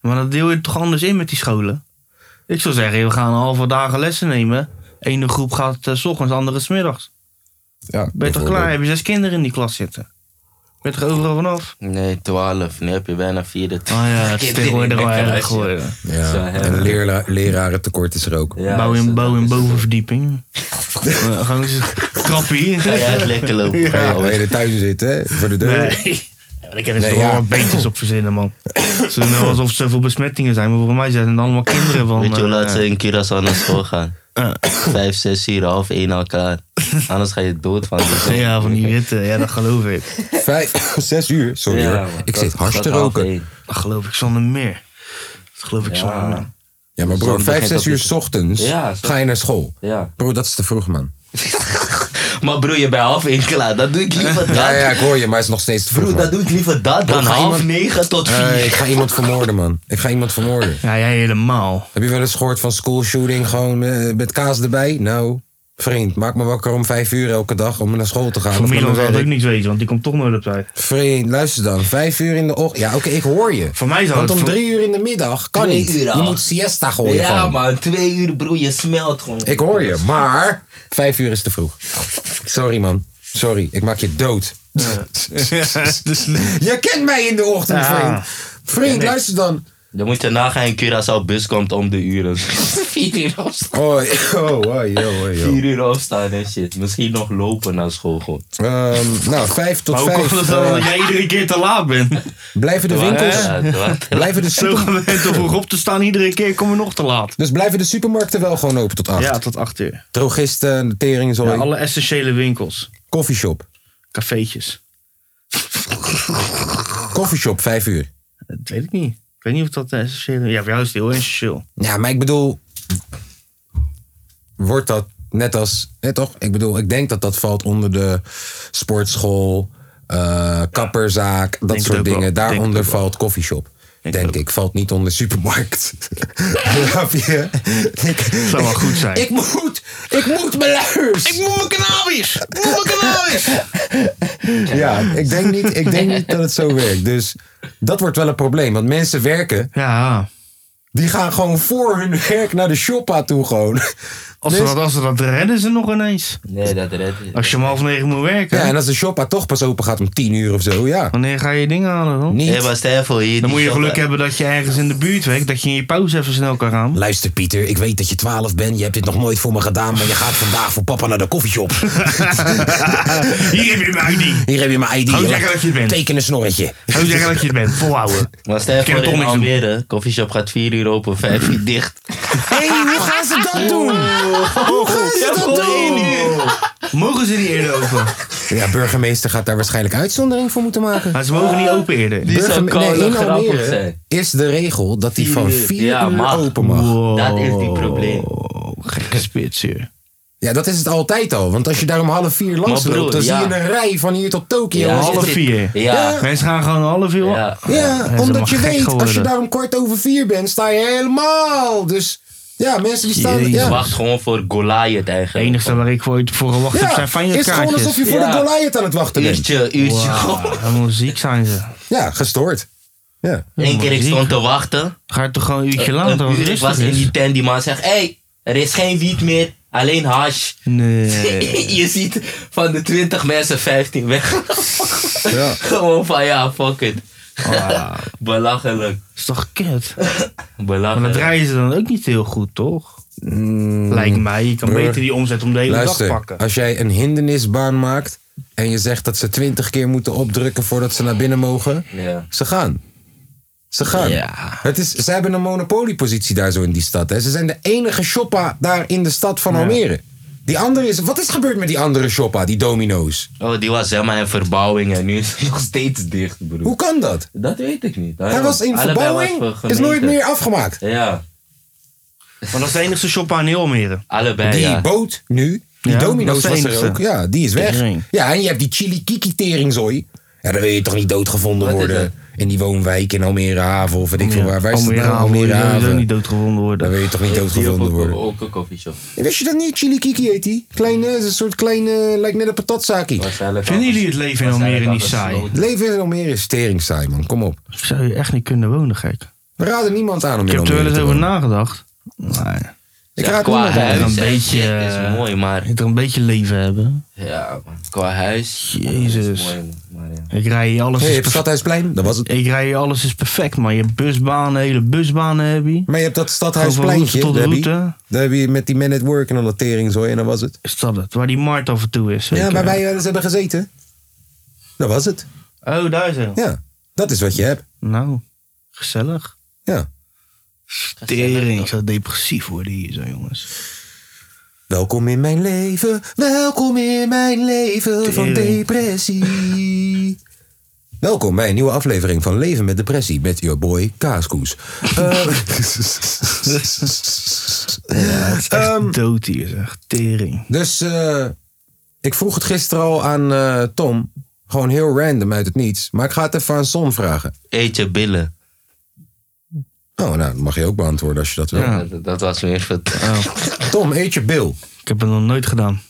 B: Maar dat deel je toch anders in met die scholen? Ik zou zeggen, we gaan halve dagen lessen nemen. Ene groep gaat eh, s ochtends, andere smiddags.
A: ja
B: Ben je toch klaar?
A: bijvoorbeeld.
B: Heb je zes kinderen in die klas zitten? Ben je toch overal vanaf?
C: Nee, 12. Nu heb je bijna 24.
B: Ah ja, het is tegenwoordig wel erg geworden.
C: Zo,
A: Ja,
C: hè.
A: en leerla- lerarentekort is er ook.
C: Ja,
B: bouw
C: is
B: in,
C: het-
B: bouw in
C: is het-
B: bovenverdieping. Ja, Gewoon eens krappie.
C: Ga jij het lekker lopen?
A: Ga je
C: Ja,
A: al hele thuis zitten, hè? Voor de deur.
B: Nee. Ja, maar Ik heb er
A: Nee,
B: toch wel
A: ja.
B: wat beters op verzinnen, man. Ze doen wel alsof er zoveel besmettingen zijn, maar voor mij zijn het allemaal kinderen van...
C: Weet je hoe
B: eh,
C: laat ze in Curaçao naar school gaan? Vijf, zes uur, half één elkaar. Anders ga je dood van. de zon.
B: Ja, van die witte. Ja, dat geloof ik.
A: Vijf, zes uur. Sorry
C: Ja,
A: hoor.
C: man.
A: Ik
C: Dat-
A: zit hard
C: dat
A: te
C: half
A: roken.
C: één.
B: Dat geloof ik zonder meer. Dat geloof ik zonder meer.
A: Ja, maar bro,
C: Zon
A: vijf,
C: begint
A: zes
C: al
A: uur
C: te-
A: 's ochtends
C: Ja, zo.
A: ga je naar school.
C: Ja.
A: Bro, dat is te vroeg, man.
C: Maar broer, je bent half één klaar. Dat doe ik liever dat.
A: Ja, ja, ik hoor je, maar het is nog steeds te vroeg.
C: Broer,
A: man.
C: dat doe ik liever dat dan
A: ga
C: half
A: iemand-
C: negen tot vier.
A: Eh, ik ga iemand vermoorden, man. Ik ga iemand vermoorden.
B: Ja, jij helemaal.
A: Heb je wel eens gehoord van school shooting, gewoon eh, met kaas erbij? Nou, vriend, maak me wakker om vijf uur elke dag om naar school te gaan.
B: Van
A: of naar
B: Milan
A: mijn
B: zou het ook
A: werk.
B: niks weten, want die komt toch nooit op tijd.
A: Vriend, luister dan. Vijf uur in de ochtend. Ja, oké, ik hoor je.
B: Voor mij zou
A: Want
B: het
A: om
B: voor-
A: drie uur in de middag kan
C: Twee
A: niet.
C: uur
A: Je
C: al.
A: moet siesta gooien.
C: Ja,
A: gewoon.
C: man, twee uur broer, je smelt gewoon.
A: Ik hoor je, maar vijf uur is te vroeg. Sorry, man. Sorry, ik maak je dood.
B: Dus
A: je kent mij in de ochtend,
B: Ja.
A: vriend. Vriend, luister dan.
C: Dan moet je nagaan in Curaçao bus komt om de uren. Vier uur opstaan.
A: Oh, oh, oh, joh, oh, joh.
C: Vier uur opstaan en shit. Misschien nog lopen naar school gewoon.
A: Ehm, nou, vijf tot
B: Maar hoe
A: vijf.
B: komt het
A: eh,
B: dan dat jij iedere keer te laat bent?
A: blijven de winkels.
C: Ja, wat?
A: Blijven de
B: Zo
A: super,
B: gewend om vroeg op te staan, iedere keer kom je nog te laat.
A: dus blijven de supermarkten wel gewoon open tot acht.
B: Ja, tot acht uur.
A: Drogisten, de tering,
B: Ja,
A: sorry.
B: alle essentiële winkels,
A: Coffeeshop.
B: cafeetjes.
A: Coffeeshop, vijf uur.
B: Dat weet ik niet. Ik weet niet of dat een essentiële... Ja, voor jou is het heel essentieel.
A: Ja, maar ik bedoel, wordt dat net als, hè, toch? Ik bedoel, ik denk dat dat valt onder de sportschool, eh, kapperzaak, dat
B: het
A: soort
B: ook
A: dingen.
B: wel. Denk het
A: Daaronder
B: ook wel.
A: valt koffieshop. Denk,
B: het ook.
A: ik, valt niet onder supermarkt. Snap je? Ik,
B: Zou wel goed zijn.
A: ik moet, ik moet mijn luiers.
B: moet mijn cannabis! Ik moet mijn cannabis!
A: Ja, ik denk, niet, ik denk niet dat het zo werkt. Dus dat wordt wel een probleem. Want mensen werken,
B: Ja,
A: die gaan gewoon voor hun werk naar de shoppa toe gewoon.
B: als ze,
A: Dus-
B: dat, als ze dat redden ze nog ineens.
C: Nee, dat redt je.
B: Als je om half negen moet werken,
A: Ja, en als de shoppa toch pas open gaat om tien uur of zo, ja.
B: wanneer ga je dingen halen dan?
A: Niet.
C: Hé, maar stel je voor hier. die
B: Dan moet je
C: shop- eh,
B: geluk hebben dat je ergens in de buurt werkt, dat je in je pauze even snel kan gaan.
D: Luister Pieter, ik weet dat je 12 bent. Je hebt dit nog nooit voor me gedaan, maar je gaat vandaag voor papa naar de koffieshop.
B: Hier heb je mijn ID.
D: Hier heb je mijn ID.
B: Gewoon zeggen dat je het bent.
D: Teken een snorretje.
B: Hoe zeggen dat je het bent, volhouden.
C: Maar stel je
B: Ik ken
C: voor
B: toch
C: in
B: niks doen.
C: Almere, koffieshop gaat 4 uur open, 5 uur dicht.
A: Hé, hoe gaan ze dat doen? Hoe gaan ze dat doen?
B: Mogen ze niet eerder open?
A: Ja, burgemeester gaat daar waarschijnlijk uitzondering voor moeten maken.
B: Maar ze mogen niet open eerder.
C: Die zou
A: Burgeme-
C: kolen
A: in
C: grappig
A: Almere
C: zijn.
A: is de regel dat die
C: Vier
A: van
C: uur.
A: vier
C: Ja,
A: uur
C: mag.
A: open mag.
C: Dat is die probleem.
B: Gekke spits hier.
A: Ja, dat is het altijd al. Want als je daar om half vier langs
C: Maar broer,
A: loopt, dan
C: ja.
A: zie je een rij van hier tot Tokio.
C: Ja,
A: Ja,
B: Half
C: zit-
B: vier.
C: Ja.
B: Mensen gaan gewoon half uur.
C: Ja.
B: ze
A: omdat
B: mag
A: je
B: gek
A: weet, als je
B: geworden.
A: daar om kwart over vier bent, sta je helemaal. Dus ja, mensen die staan...
B: Jezus.
C: Je
A: Ja,
C: wacht gewoon voor Goliath
B: Het
C: eigenlijk.
B: enige waar ik ooit voor gewacht heb
A: ja
B: zijn
A: is het
B: Feyenoord
A: gewoon alsof
B: kaartjes.
A: je voor de
C: Ja.
A: Goliath aan het wachten bent.
C: Uurtje, uurtje. gewoon.
B: Wow, helemaal ziek zijn ze.
A: Ja, gestoord. Ja.
C: Eén keer ik stond te wachten.
B: Ga je toch gewoon een uurtje
C: Een
B: later? want
C: uur,
B: het
C: ik was
B: rustig
C: in
B: is?
C: die tent, die man zegt, hé, hey, er is geen wiet meer, alleen hash.
B: Nee.
C: je ziet van de 20 mensen 15 weg.
A: Ja.
C: Gewoon van ja, fuck it.
B: Wauw,
C: Belachelijk.
B: is toch kut? Maar dan
C: Belachelijk.
B: draaien ze dan ook niet heel goed, toch?
A: Mm.
B: Lijkt mij. Je kan
A: Broer,
B: beter die omzet om de hele dag
A: Luister,
B: pakken.
A: als jij een hindernisbaan maakt en je zegt dat ze twintig keer moeten opdrukken voordat ze naar binnen mogen,
C: Ja.
A: ze gaan. Ze gaan.
C: Ja.
A: Het is, ze hebben een monopoliepositie daar zo in die stad. Hè. Ze zijn de enige shoppa daar in de stad van Almere. Die andere is, wat is gebeurd met die andere shoppa, die domino's?
C: Oh, die was helemaal in verbouwing en nu is het nog steeds dicht, broer.
A: Hoe kan dat?
C: Dat weet ik niet.
A: Hij was in
C: Allebei was
A: verbouwing,
C: voor
A: is nooit
C: gemeente.
A: meer afgemaakt.
C: Ja,
B: Maar dat is de enige shop aan heel Almere.
C: allebei.
A: Die
C: ja.
A: boot nu, die
B: eh, Ja,
A: domino's
B: dat
A: was
B: is de
A: er
B: enigste.
A: ook. Ja, die is weg.
B: Tering.
A: Ja, en je hebt die chili kiki teringzooi. Ja, dan wil je toch niet doodgevonden
C: Wat is
A: worden
C: dat?
A: in die woonwijk in Almere Haven of weet ik veel waar. Waar is het
B: Almere
A: nou?
B: Haven,
A: Almere
B: die sowieso
A: Haven.
B: niet doodgevonden
A: Dan
B: worden.
A: wil je toch niet
C: Die op
A: doodgevonden
C: ook,
A: worden.
C: ook een koffieshop.
A: Wist je dat niet? Chili kiki heet die. Kleine, is een soort kleine, lijkt net een patatzaki.
C: Waarschijnlijk
B: Vinden
C: al-
B: jullie het leven in Almere niet
C: waarschijnlijk al
B: saai?
C: gesloten.
A: Leven in Almere is tering saai, man. Kom op.
B: Zou je echt niet kunnen wonen, gek?
A: We raden niemand aan om
B: Ik
A: in
B: heb er wel
A: Almere
B: eens
A: te
B: over
A: wonen.
B: nagedacht. Nee.
A: Ik
C: Zeg,
A: raad
C: qua
A: niemand aan.
C: huis
B: Een
C: en
B: beetje, eh,
C: shit is mooi, maar...
B: Je moet er een beetje leven hebben.
C: Ja, man. Qua huis...
B: Jezus.
C: Is mooi, maar ja.
B: Ik rij hier alles
A: Hey,
B: is
A: op het
B: perfect.
A: Stadhuisplein, dat was het.
B: Ik rij hier alles is perfect, man. Je hebt busbanen, hele busbanen heb je.
A: Maar je hebt dat
B: Gewoon
A: Stadhuispleintje,
B: van
A: daar
B: route
A: heb
B: tot
A: je-
B: route.
A: daar heb je met die man at work en al dat teringzooi en dat was het.
B: Is dat het? Waar die markt af en toe is. zeker.
A: Ja, waar wij wel eens hebben gezeten. Dat was het.
B: Oh, daar zo.
A: Ja, dat is wat je hebt.
B: Nou, gezellig.
A: Ja.
B: Tering. Ik zou depressief worden hier zo, jongens.
A: Welkom in mijn leven, welkom in mijn leven van
B: Tering.
A: depressie. Welkom bij een nieuwe aflevering van Leven met Depressie met your boy Kaaskoes. Eh,
B: Echt
A: Ehm,
B: dood hier, zeg. Tering.
A: dus eh, ik vroeg het gisteren al aan eh, Tom. Gewoon heel random uit het niets. Maar ik ga het even aan Son vragen.
C: Eet je billen.
A: Oh, nou, dat mag je ook beantwoorden als je dat wil.
B: Ja.
C: Dat, dat was meer verteld.
A: Tom, eet je bil.
B: Ik heb het nog nooit gedaan.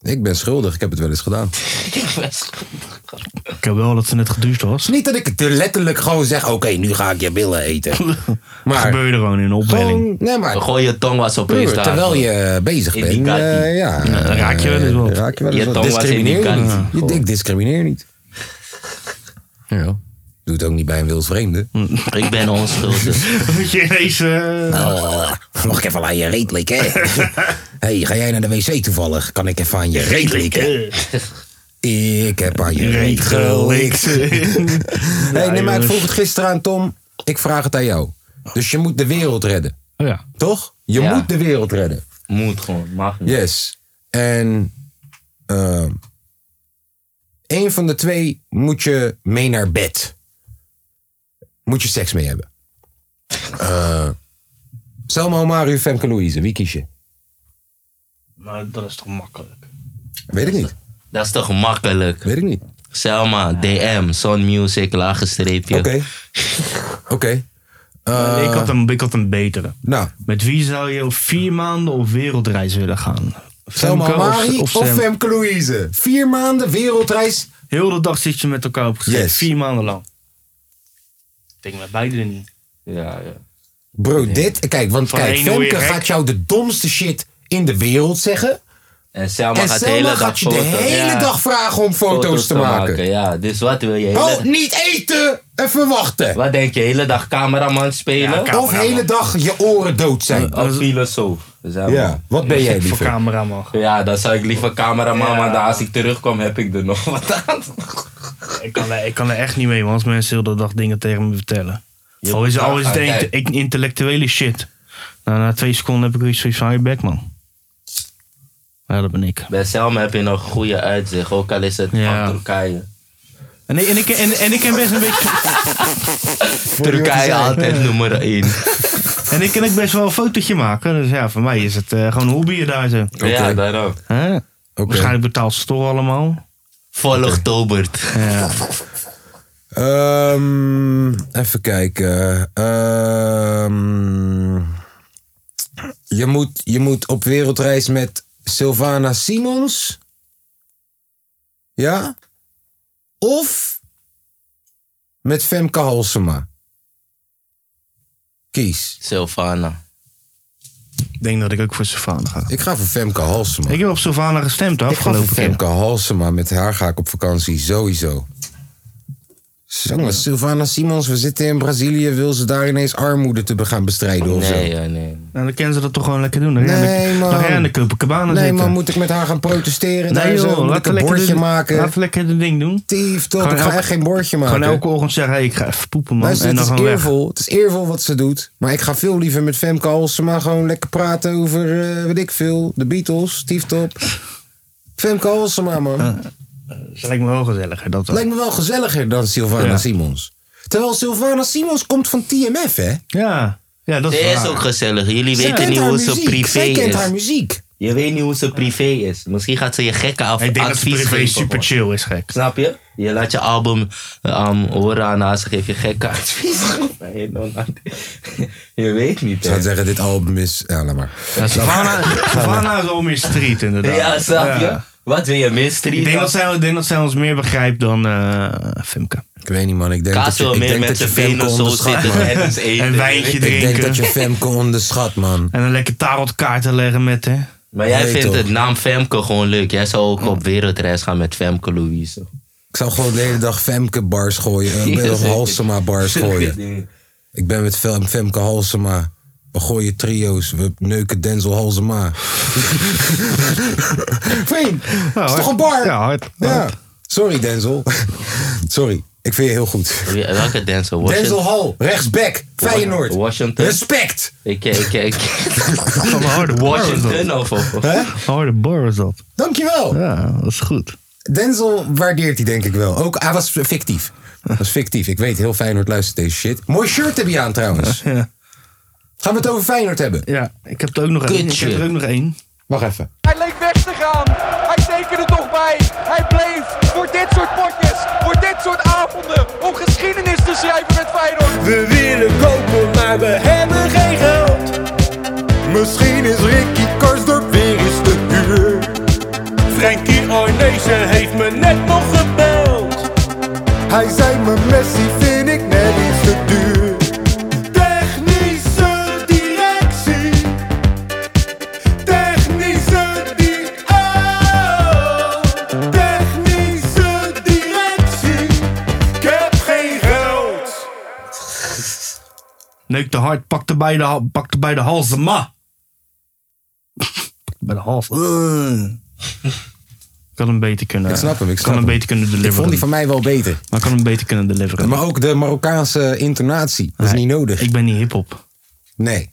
A: Ik ben schuldig, ik heb het wel eens gedaan.
B: Ik heb wel dat ze net gedoucht was.
A: Het is niet dat ik het letterlijk gewoon zeg: oké, nu ga ik je billen eten.
B: Maar
A: Maar
B: gebeurde gewoon in een opwelling.
A: gewoon, nee, maar
C: Gooi je tong was opeens
A: broer,
C: daar.
A: terwijl je bezig
C: In die
A: bent,
C: kat
A: eh,
C: niet.
A: ja,
B: Nou, dan raak je wel eens wat.
A: eh, Raak je wel eens
C: Je
A: wat.
C: tong was in die
A: Discrimineer
C: kat
A: niet.
C: niet.
A: Je dik discrimineer niet. Ja. Doe het ook niet bij een wild vreemde.
C: Ik ben onschuldig.
B: Moet je ineens... eh,
A: Oh, mag ik even aan je reet likken? hey, ga jij naar de wc toevallig? Kan ik even aan je reet likken? Ik heb aan je reet gelikt. Hey, nee, maar ik
B: jongens.
A: vroeg het gisteren aan Tom. Ik vraag het aan jou. Dus je moet de wereld redden.
B: Oh Ja.
A: Toch? Je
C: Ja.
A: moet de wereld redden.
C: Moet gewoon, mag niet.
A: Yes. En ehm een van de twee moet je mee naar bed. Moet je seks mee hebben. Eh, Selma Omari of Femke Louise, wie kies je?
B: Maar Nou, dat is toch makkelijk.
A: Weet ik niet.
C: Dat is toch makkelijk?
A: Weet ik niet.
C: Selma, DM, Son Music, lage streepje.
A: Oké. Oké.
B: ik, had een, ik had een betere.
A: Eh, Nou,
B: Met wie zou je op vier maanden op wereldreis willen gaan?
A: Selma
B: Femke
A: Omari of,
B: Sam?
A: Femke Louise. Vier maanden wereldreis.
B: Heel de dag zit je met elkaar opgeschreven.
A: Yes.
B: Vier maanden lang. Ik denk met beide niet.
C: Ja, ja.
A: Bro, dit. Kijk, want
B: Van
A: kijk,
B: één word je
A: Femke
B: gek.
A: gaat jou de domste shit in de wereld zeggen.
C: En Selma
A: en
C: Oh, gaat
A: Selma
C: de hele dag
A: gaat je de
C: foto's-
A: hele
C: ja,
A: dag vragen om foto's, te maken.
C: Ja, dus wat wil je? Hele,
A: Oh, niet eten en verwachten.
C: Wat denk je, hele dag cameraman spelen? Oh,
B: Ja, Oh,
A: Of de hele dag je oren dood zijn.
C: of filosoof? Dus ja, man.
A: wat ben jij
B: Voor
A: liever?
B: cameraman.
C: Ja, dan zou ik liever cameraman,
B: Ja.
C: maar dan als ik terugkom heb ik er nog wat aan.
B: Ik kan, er- ik kan er echt niet mee, want als mensen heel de dag dingen tegen me vertellen. Al is, al is het
C: Ja,
B: inte- ik- intellectuele shit. Nou, na twee seconden heb ik weer zoiets van, je back man. Ja, dat ben ik.
C: Bij Selma heb je nog goede uitzicht, ook al is het
B: Ja.
C: van Turkije.
B: En ik, en ik, en, en ik ken best een beetje...
C: Turkije altijd nummer 1.
B: En ik kan ook best wel een fotootje maken. Dus ja, voor mij is het eh, gewoon een hobby daar zo.
C: Ja, daarom.
B: Hè? Waarschijnlijk betaalt ze het toch allemaal.
C: Volg Tobert.
B: Ja.
A: Ehm, even kijken. Ehm, je, moet, je moet op wereldreis met Sylvana Simons. Ja? Of met Femke Halsema. Kies.
C: Sylvana.
B: Ik denk dat ik ook voor Savannah ga.
A: Ik ga voor Femke Halsema.
B: Ik heb op Savannah gestemd de
A: Ik ga
B: afgelopen
A: voor
B: keer.
A: Femke Halsema. Met haar ga ik op vakantie, sowieso. Jongen, Sylvana Simons, we zitten in Brazilië. Wil ze daar ineens armoede te be- gaan bestrijden of zo?
C: Nee, ja, nee.
B: Nou, dan kunnen ze dat toch gewoon lekker doen. Dan ga je
A: Nee,
B: aan de-
A: man.
B: Dan ga je aan de Copacabana
A: Nee,
B: zitten.
A: maar moet ik met haar gaan protesteren? daar
B: joh,
A: zo? Moet ik
B: laat
A: een
B: lekker
A: bordje
B: de-
A: maken?
B: Laat lekker de ding doen.
A: Tief, toch?
B: Gewoon
A: Ik ga
B: elke-
A: echt geen bordje maken.
B: Gewoon elke ochtend zeggen, hey, ik ga even poepen man.
A: Luister,
B: en dan
A: het is
B: gewoon weg.
A: eervol. Het is eervol wat ze doet. Maar ik ga veel liever met Femke Halsema gewoon lekker praten over, eh, weet ik veel, de Beatles, tieftop. Femke Halsema, man.
B: Dat lijkt me wel gezelliger. Dat wel.
A: Lijkt me wel gezelliger dan Sylvana
B: Ja.
A: Simons. Terwijl Sylvana Simons komt van TMF, hè?
B: Ja. ja, dat
C: Ze
B: is,
C: is
B: waar.
C: ook gezellig. Jullie
A: Zij
C: weten
A: kent
C: niet
A: haar
C: hoe ze
A: muziek.
C: privé
A: Zij kent haar
C: is.
A: muziek.
C: Je weet niet hoe ze privé is. Misschien gaat ze je gekke af
B: Ik denk dat
C: advies
B: privé
C: geven,
B: super
C: gewoon.
B: chill is gek.
C: Snap je? Je laat je album ehm, horen aan haar, ze geeft je gekke advies. Nee, no, no. je weet niet,
A: Ik
C: hè.
A: zou zeggen, dit album is... Ja, laat maar.
B: Savannah, Savannah is al meer street inderdaad.
C: Ja, snap je?
B: Ja.
C: Wat wil je, mystery?
B: Ik denk dat zij, ik denk dat zij ons meer begrijpt dan eh Femke.
A: Ik weet niet, man. Ik denk
C: Kaas
A: dat je,
C: wil
A: ik
C: meer
A: denk
C: met
A: dat je
C: zijn
A: Femke
C: benen zo
A: onderschat,
C: zitten
A: man.
C: en eens eten.
B: Een wijntje
A: Ik denk
B: drinken.
A: dat je Femke onderschat, man.
B: En een lekker tarotkaarten leggen met hè.
C: Maar jij
A: Nee,
C: vindt
A: toch.
C: het naam Femke gewoon leuk. Jij zou ook op wereldreis gaan met Femke Louise.
A: Ik zou gewoon de hele dag Femke bars gooien.
C: Ja,
A: Ik ben nog
C: zeker.
A: Halsema bars gooien. Ik ben met Fem- Femke Halsema. We gooien trio's. We neuken Denzel Halsema. Veen, dat is toch een bar?
B: Ja, hard.
A: Ja. Sorry, Denzel. Sorry. Ik vind je heel goed.
C: Wie- Welke dancer? Washington?
A: Denzel Hall, rechtsback, Feyenoord.
C: Washington.
A: Respect.
C: Ik, ik, ik,
B: Van een harde bar is dat.
C: Washington of... of-
A: Hè?
B: Een harde bar is dat.
A: Dankjewel.
B: Ja, dat is goed.
A: Denzel waardeert hij denk ik wel. Ook, hij was fictief. Dat was fictief. Ik weet, heel Feyenoord luistert deze shit. Mooi shirt heb je aan trouwens.
B: Ja.
A: Gaan we het over Feyenoord hebben?
B: Ja, ik heb er ook nog één. Ik heb er ook nog één.
A: Wacht even.
E: Hij leek weg te gaan. Hij tekende toch bij. Hij bleef voor dit soort potjes, voor dit soort avonden, om geschiedenis te schrijven met Feyenoord.
F: We willen kopen, maar we hebben geen geld. Misschien is Ricky Karsdorp weer eens te duur. Frankie Arnezen heeft me net nog gebeld. Hij zei me Messi vind ik net iets te duur. Technische directie. Technische di- oh. Technische directie. Ik heb geen geld.
B: neukte hard, pakte bij de, ha- pakte bij de hals. Ma! bij de hals. Ik had hem beter kunnen.
A: Ik snap hem, ik snap
B: kan hem
A: hem.
B: beter kunnen deliveren.
A: Ik vond die van mij wel beter.
B: Maar ik kan hem beter kunnen deliveren.
A: Maar ook de Marokkaanse intonatie. Dat is
B: Nee,
A: niet nodig.
B: Ik ben niet hip-hop.
A: Nee.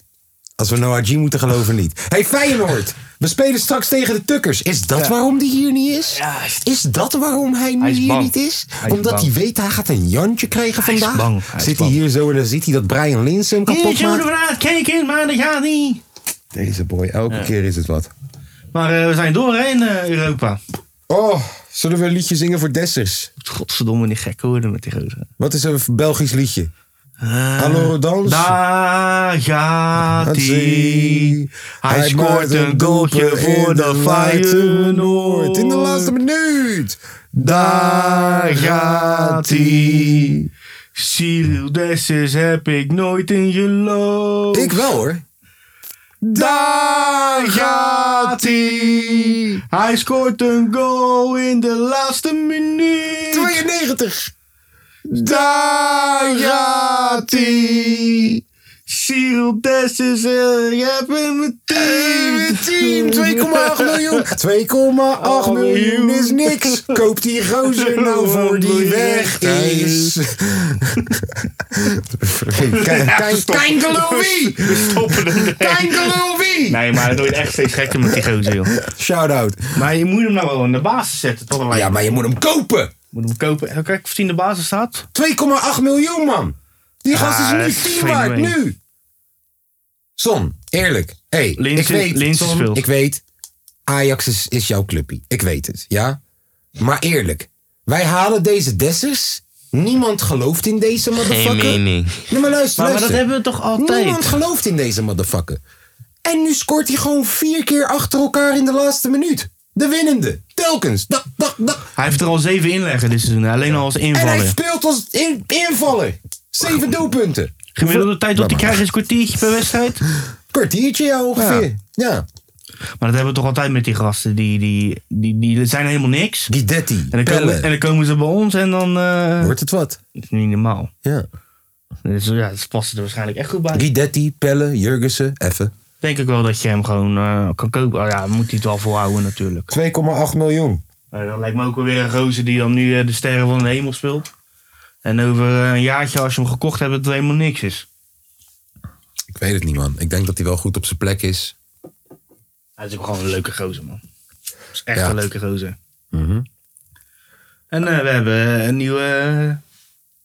A: Als we Noah G moeten geloven, niet. hey, Feyenoord. We spelen straks tegen de Tukkers. Is dat waarom die hier niet is? Is dat waarom hij nu
B: Hij is
A: hier
B: bang.
A: niet is?
B: Hij is
A: Omdat
B: bang.
A: hij weet, hij gaat een jantje krijgen
B: Hij is
A: vandaag.
B: bang. Hij is
A: zit hij
B: bang.
A: hier zo en dan ziet hij dat Brian Lins hem kapot maakt.
B: kijken, maar dat gaat niet.
A: Deze boy, elke keer is het wat.
B: Maar eh, we zijn door hè, in eh, Europa.
A: Oh, zullen we een liedje zingen voor Dessers?
B: Godverdomme, die gek worden met die gozer.
A: Wat is een Belgisch liedje? Hallo dans.
B: Daar gaat hij.
A: Hij
B: Hij scoort
A: maakt
B: een goaltje
A: doelpunt
B: voor
A: in
B: de Feyenoord.
A: Feyenoord. In de laatste minuut. Daar
B: Daar gaat hij. Cyril Dessers heb ik nooit in je lood.
A: Ik wel hoor.
B: Daar gaat hij. Hij scoort een goal in de laatste minuut.
A: 92.
B: Daar gaat hij. Cyril Dessers, eh, je hebt hem Eh, meteen.
A: Team 2,8 miljoen.
B: Oh,
A: 2,8 miljoen is niks. Koop die gozer nou voor die weg is. Kijk, kijk, kijk, Golovie.
B: We stoppen hem.
A: Kijk, Golovie.
B: Nee, maar het wordt echt steeds gekker met die gozer, joh.
A: Shout-out.
B: Maar je moet hem nou wel in de basis zetten, toch?
A: Ja, maar je moet hem kopen.
B: Moet hem kopen. Kijk kijken of hij in de basis staat.
A: 2,8 miljoen, man. Die gast
B: Ah,
A: is nu
B: dat
A: vier
B: vind ik
A: waard,
B: wel.
A: nu. Son, eerlijk. Hey,
B: Linse-
A: ik weet,
B: Linse
A: Son,
B: speelt.
A: ik weet, Ajax is, is jouw clubpie. Ik weet het, ja? Maar eerlijk, wij halen deze Dessers. Niemand gelooft in deze motherfucker.
C: Geen mening.
A: Nee, maar luister,
B: Maar, maar dat
A: luister.
B: hebben we toch altijd?
A: Niemand gelooft in deze motherfucker. En nu scoort hij gewoon vier keer achter elkaar in de laatste minuut. De winnende. Telkens. Dak, dak, dak.
B: Hij heeft er al zeven inleggen dit seizoen. Alleen al als
A: En hij
B: invaller.
A: speelt als in- invaller. Zeven doelpunten.
B: Gemiddelde tijd dat hij krijgt is een kwartiertje per wedstrijd.
A: Kwartiertje ja ongeveer. Ja.
B: Maar dat hebben we toch altijd met die gasten. Die, die, die, die, zijn helemaal niks.
A: Guidetti.
B: En dan, komen, en
A: Pelle.
B: dan komen ze bij ons en dan... eh,
A: Wordt het wat?
B: dat is niet normaal.
A: Ja.
B: Dus ja, dat past er waarschijnlijk echt goed bij.
A: Guidetti, Pelle, Jurgensen, even.
B: Denk ik wel dat je hem gewoon eh, kan kopen. Oh, ja, moet hij het wel volhouden natuurlijk.
A: 2,8 miljoen.
B: Maar dat lijkt me ook wel weer een gozer die dan nu eh, de sterren van de hemel speelt. En over eh, een jaartje als je hem gekocht hebt, dat het helemaal niks is.
A: Ik weet het niet, man. Ik denk dat hij wel goed op zijn plek is.
B: Hij is ook gewoon een leuke gozer, man. Dat is echt
A: Ja.
B: een leuke gozer. Mhm, En eh, we hebben eh, een nieuwe, eh,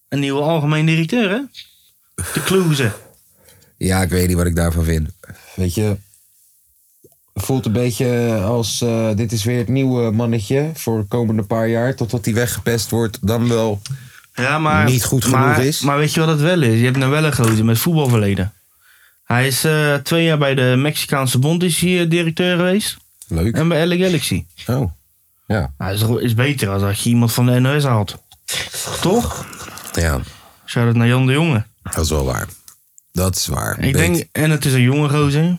B: een nieuwe algemeen directeur, hè? De Kloeze.
A: Ja, ik weet niet wat ik daarvan vind. Weet je, voelt een beetje als eh, dit is weer het nieuwe mannetje voor de komende paar jaar. Totdat hij weggepest wordt, dan wel.
B: Ja, maar,
A: Niet goed genoeg
B: maar,
A: is.
B: Maar weet je wat het wel is? Je hebt nou wel een gozer met voetbalverleden. Hij is eh, twee jaar bij de Mexicaanse Bond is hij, eh, directeur geweest.
A: Leuk.
B: En bij LA Galaxy.
A: Oh. Ja.
B: Hij is, toch- is beter als dat je iemand van de NOS haalt. Toch?
A: Ja,
B: Zou dat naar Jan de Jonge?
A: dat is wel waar. Dat is waar.
B: Ik denk, en het is een jonge gozer.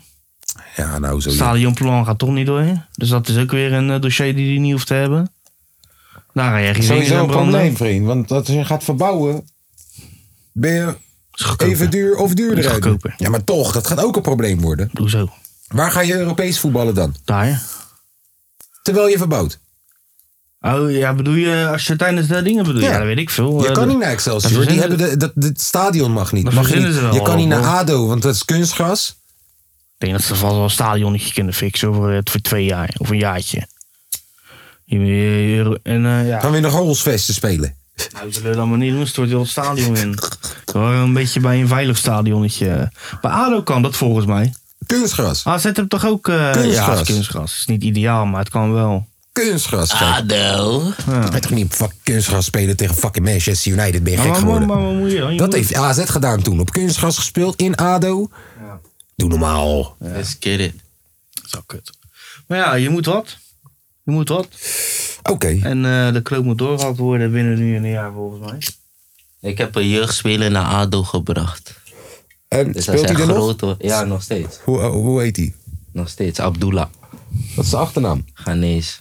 A: Ja, nou zo.
B: Stadionplan gaat toch niet door. Dus dat is ook weer een eh, dossier die hij niet hoeft te hebben. Daar ga je geen zin in
A: Sowieso een
B: branden.
A: probleem, vriend. Want als je gaat verbouwen, ben je
B: Is goedkoper.
A: even duur of
B: Is
A: duurder uit.
B: goedkoper.
A: Ja, maar toch, dat gaat ook een probleem worden.
B: Hoezo?
A: Waar ga je Europees voetballen dan?
B: Daar.
A: Terwijl je verbouwt.
B: Oh ja, bedoel je als je tijdens de dingen bedoelt? Ja,
A: Ja.
B: dat weet ik veel.
A: Je
B: Eh,
A: kan
B: de-
A: niet naar
B: dat
A: Excelsior. Die
B: verzinnen-
A: hebben de, dat, het stadion mag niet.
B: Dat
A: Mag
B: verzinnen
A: niet.
B: ze wel
A: Je kan niet
B: allemaal.
A: naar ADO, want dat is kunstgras.
B: Ik denk dat ze vast wel een stadionnetje kunnen fixen voor, eh, voor twee jaar of een jaartje. Je- je- je- En eh, ja,
A: Gaan we in de Gorrelsvesten spelen.
B: nou, ze willen dat maar niet doen, stort heel het stadion in. Gewoon een beetje bij een veilig stadionnetje. Bij ADO kan dat volgens mij.
A: Kunstgras.
B: AZ heeft toch ook eh,
A: Kunstgras.
B: Ja, het is kunstgras. Het is niet ideaal, maar het kan wel.
A: Kunstgras. Ah.
C: Ado.
A: Je gaat toch niet op fucking kunstgras spelen tegen fucking Manchester United? Ben je
B: Maar,
A: gek
B: maar, maar,
A: geworden?
B: maar wat moet je dan? Je
A: Dat
B: moet-
A: heeft AZ gedaan toen. Op kunstgras gespeeld in ADO. Doe normaal.
C: Let's get it.
B: Zo kut. Maar ja, je moet wat. Je moet wat.
A: Oké.
B: En eh, de knoop moet doorgehakt worden binnen nu en een jaar volgens mij.
C: Ik heb een jeugdspeler naar ADO gebracht.
A: En
C: Dus
A: speelt
C: dat
A: hij er
C: is echt
A: nog?
C: groot hoor. Ja, nog steeds.
A: Hoe, eh, hoe heet hij?
C: Nog steeds. Abdullah.
A: Wat is zijn achternaam?
C: Ghanese.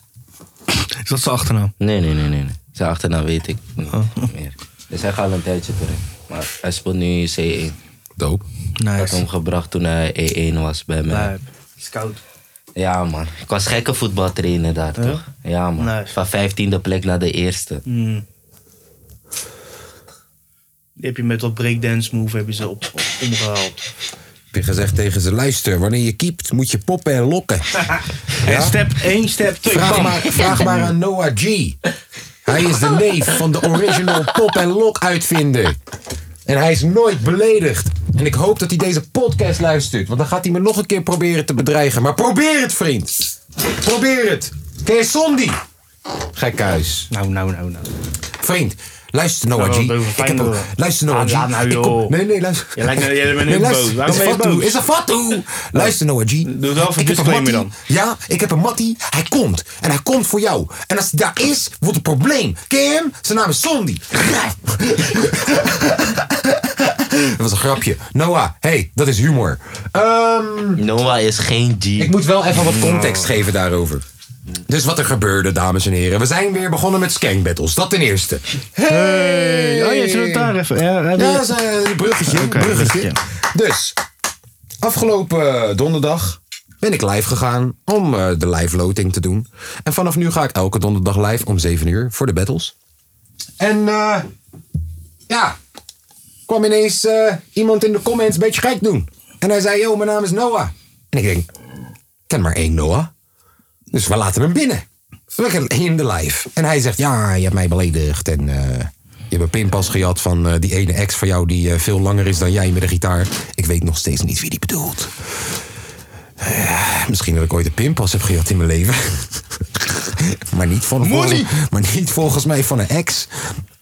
B: Is dat zijn achternaam?
C: Nee, nee, nee, nee. nee. Zijn
A: Oh.
C: achternaam weet ik niet meer. Dus hij gaat al een tijdje terug. Maar hij speelt nu C1.
A: Doop.
C: Ik had hem gebracht toen hij E1 was bij mij.
B: Lijp. Is koud.
C: Ja, man. Ik was gekke voetbaltrainer daar, toch? Ja, man.
B: Nice.
C: Van vijftiende plek naar de eerste.
B: Mm. Die heb je met dat breakdance move hebben ze op, op, omgehaald.
A: Heb je gezegd tegen ze, luister, wanneer je kiept moet je poppen en lokken.
B: En step 1, step 2,
A: Vraag
B: bam.
A: maar, vraag maar aan Noah G. Hij is de neef van de original pop- en lok-uitvinder. En hij is nooit beledigd. En ik hoop dat hij deze podcast luistert. Want dan gaat hij me nog een keer proberen te bedreigen. Maar probeer het, vriend. Probeer het. Ken je Sondi? Gekhuis.
B: Nou, nou, nou, nou.
A: Vriend, luister Noah G.
B: Zo, dat is
A: Ik heb
B: fijn,
A: een-
B: hoor.
A: luister Noah
B: Ah,
A: G.
B: laat nou,
A: Ik kom-
B: joh.
A: Nee, nee, luister.
B: Je lijkt nou- jij bent
A: Nee,
B: nu
A: luister.
B: boos. Waarom
A: is
B: ben
A: een
B: je
A: fatu.
B: boos?
A: Is een fatu. Luister Noah G.
B: Doe wel even
A: Ik heb een
B: disclaimer
A: mattie. Ja, ik heb een mattie. Hij komt. En hij komt voor jou. En als hij daar is, wordt het probleem. Ken je hem? Zijn naam is Sondi. dat was een grapje. Noah, hey, dat is humor. Ehm...
C: Noah is geen G.
A: Ik moet wel even wat context geven daarover. Dus wat er gebeurde, dames en heren. We zijn weer begonnen met skank battles. Dat ten eerste. Hey!
B: Oh ja, zullen we het daar even... Ja, hebben
A: Ja,
B: we-
A: dat is eh, een bruggetje, bruggetje. Dus, afgelopen eh, donderdag ben ik live gegaan om eh, de live loting te doen. En vanaf nu ga ik elke donderdag live om 7 uur voor de battles. En eh, ja, kwam ineens eh, iemand in de comments een beetje gek doen. En hij zei, yo, mijn naam is Noah. En ik denk, ik ken maar één Noah. Dus we laten hem binnen. We gaan in de live. En hij zegt, ja, je hebt mij beledigd. En eh, je hebt een pinpas gejat van eh, die ene ex van jou... die eh, veel langer is dan jij met een gitaar. Ik weet nog steeds niet wie die bedoelt. Eh, misschien dat ik ooit een pinpas heb gejat in mijn leven. maar, niet van, volgens, maar niet volgens mij van een ex.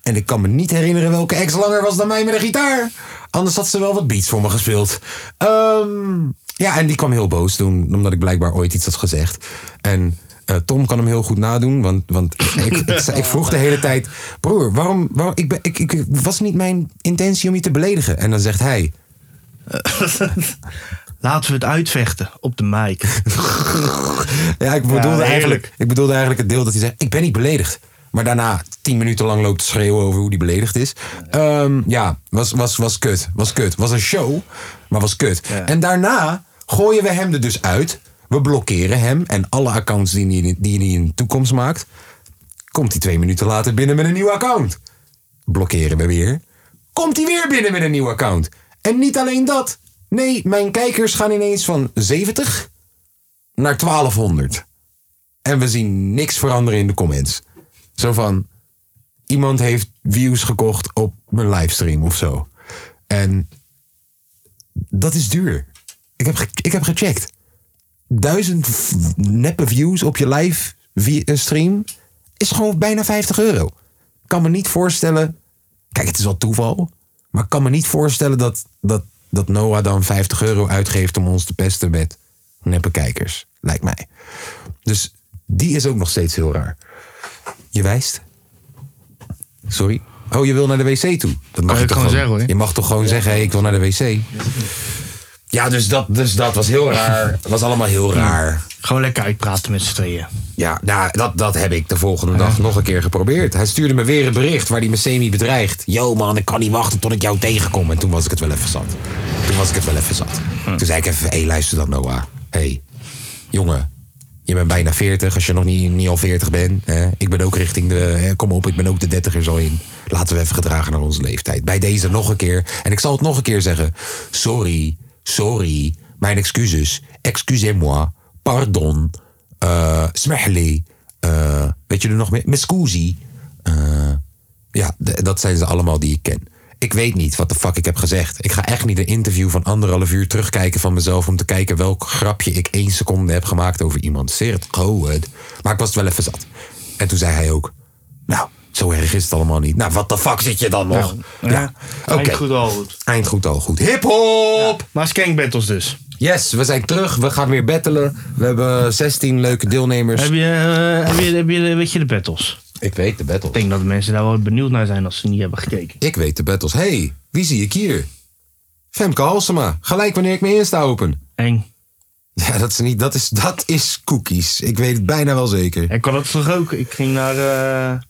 A: En ik kan me niet herinneren welke ex langer was dan mij met een gitaar. Anders had ze wel wat beats voor me gespeeld. Ehm, ja, en die kwam heel boos toen, omdat ik blijkbaar ooit iets had gezegd. En eh, Tom kan hem heel goed nadoen, want, want ik, ik, zei- ik vroeg de hele tijd... Broer, waarom... waarom ik, ben, ik, ik, was niet mijn intentie om je te beledigen. En dan zegt hij...
B: Laten we het uitvechten op de mic.
A: Ja, ik bedoelde,
B: heerlijk.
A: eigenlijk, ik bedoelde eigenlijk het deel dat hij zegt: Ik ben niet beledigd. Maar daarna tien minuten lang loopt te schreeuwen over hoe die beledigd is. Ehm, ja, was, was, was kut. Was kut. Was een show, maar was kut. En daarna gooien we hem er dus uit. We blokkeren hem en alle accounts die hij, die hij in de toekomst maakt. Komt hij twee minuten later binnen met een nieuw account. Blokkeren we weer. Komt hij weer binnen met een nieuw account. En niet alleen dat. Nee, mijn kijkers gaan ineens van 70 naar 1200. En we zien niks veranderen in de comments. Zo van, iemand heeft views gekocht op mijn livestream of zo. En dat is duur. Ik heb, ge- ik heb gecheckt. Duizend v- neppe views op je live vi- eh, stream is gewoon bijna 50 euro. Ik kan me niet voorstellen... Kijk, het is wel toeval. Maar ik kan me niet voorstellen dat, dat, dat Noah dan 50 euro uitgeeft om ons te pesten met neppe kijkers. Lijkt mij. Dus die is ook nog steeds heel raar. Je wijst. Sorry. Oh, je wil naar de wc toe. Dat mag
G: Kan
A: je
G: ik
A: toch
G: gewoon zeggen, hoor.
A: Je mag toch gewoon zeggen, hey, ik wil naar de wc. Ja, dus dat, dus dat was heel raar. Was allemaal heel raar.
B: Gewoon Hmm. lekker uitpraten met z'n tweeën.
A: Ja, nou, dat, dat heb ik de volgende dag nog een keer geprobeerd. Hij stuurde me weer een bericht waar hij me semi bedreigt. Yo man, ik kan niet wachten tot ik jou tegenkom. En toen was ik het wel even zat. Toen was ik het wel even zat. Toen zei ik even, hé hey, luister dan Noah. Hé, hey, jongen, je bent bijna 40 als je nog niet, niet al 40 bent. Hè? Ik ben ook richting de, hè, kom op, ik ben ook de 30 er zo in. Laten we even gedragen naar onze leeftijd. Bij deze nog een keer. En ik zal het nog een keer zeggen. Sorry, sorry, mijn excuses. Excusez-moi, pardon, eh smehli. eh, weet je er nog meer? Mescusi. Eh, ja, d- dat zijn ze allemaal die ik ken. Ik weet niet wat de fuck ik heb gezegd. Ik ga echt niet een interview van anderhalf uur terugkijken van mezelf... om te kijken welk grapje ik één seconde heb gemaakt over iemand. Zeer het goed. Maar ik was het wel even zat. En toen zei hij ook... Nou, zo erg is het allemaal niet. Nou, wat de fuck zit je dan nog? Ja, oké.
B: Eind goed, al goed.
A: Eind goed, al goed. Hip-hop!
B: Maar skank battles dus.
A: Yes, we zijn terug. We gaan weer battelen. We hebben 16 leuke deelnemers.
B: Heb je, eh, heb je, heb je de- weet je de battles?
A: Ik weet de battles.
B: Ik denk dat de mensen daar wel benieuwd naar zijn als ze niet hebben gekeken.
A: Ik weet de battles. hey, wie zie ik hier? Femke Halsema. Gelijk wanneer ik mijn Insta open.
B: Eng.
A: Ja, dat is niet. Dat is, dat is cookies. Ik weet het bijna wel zeker.
B: Ik kan dat toch ook. Ik ging naar eh,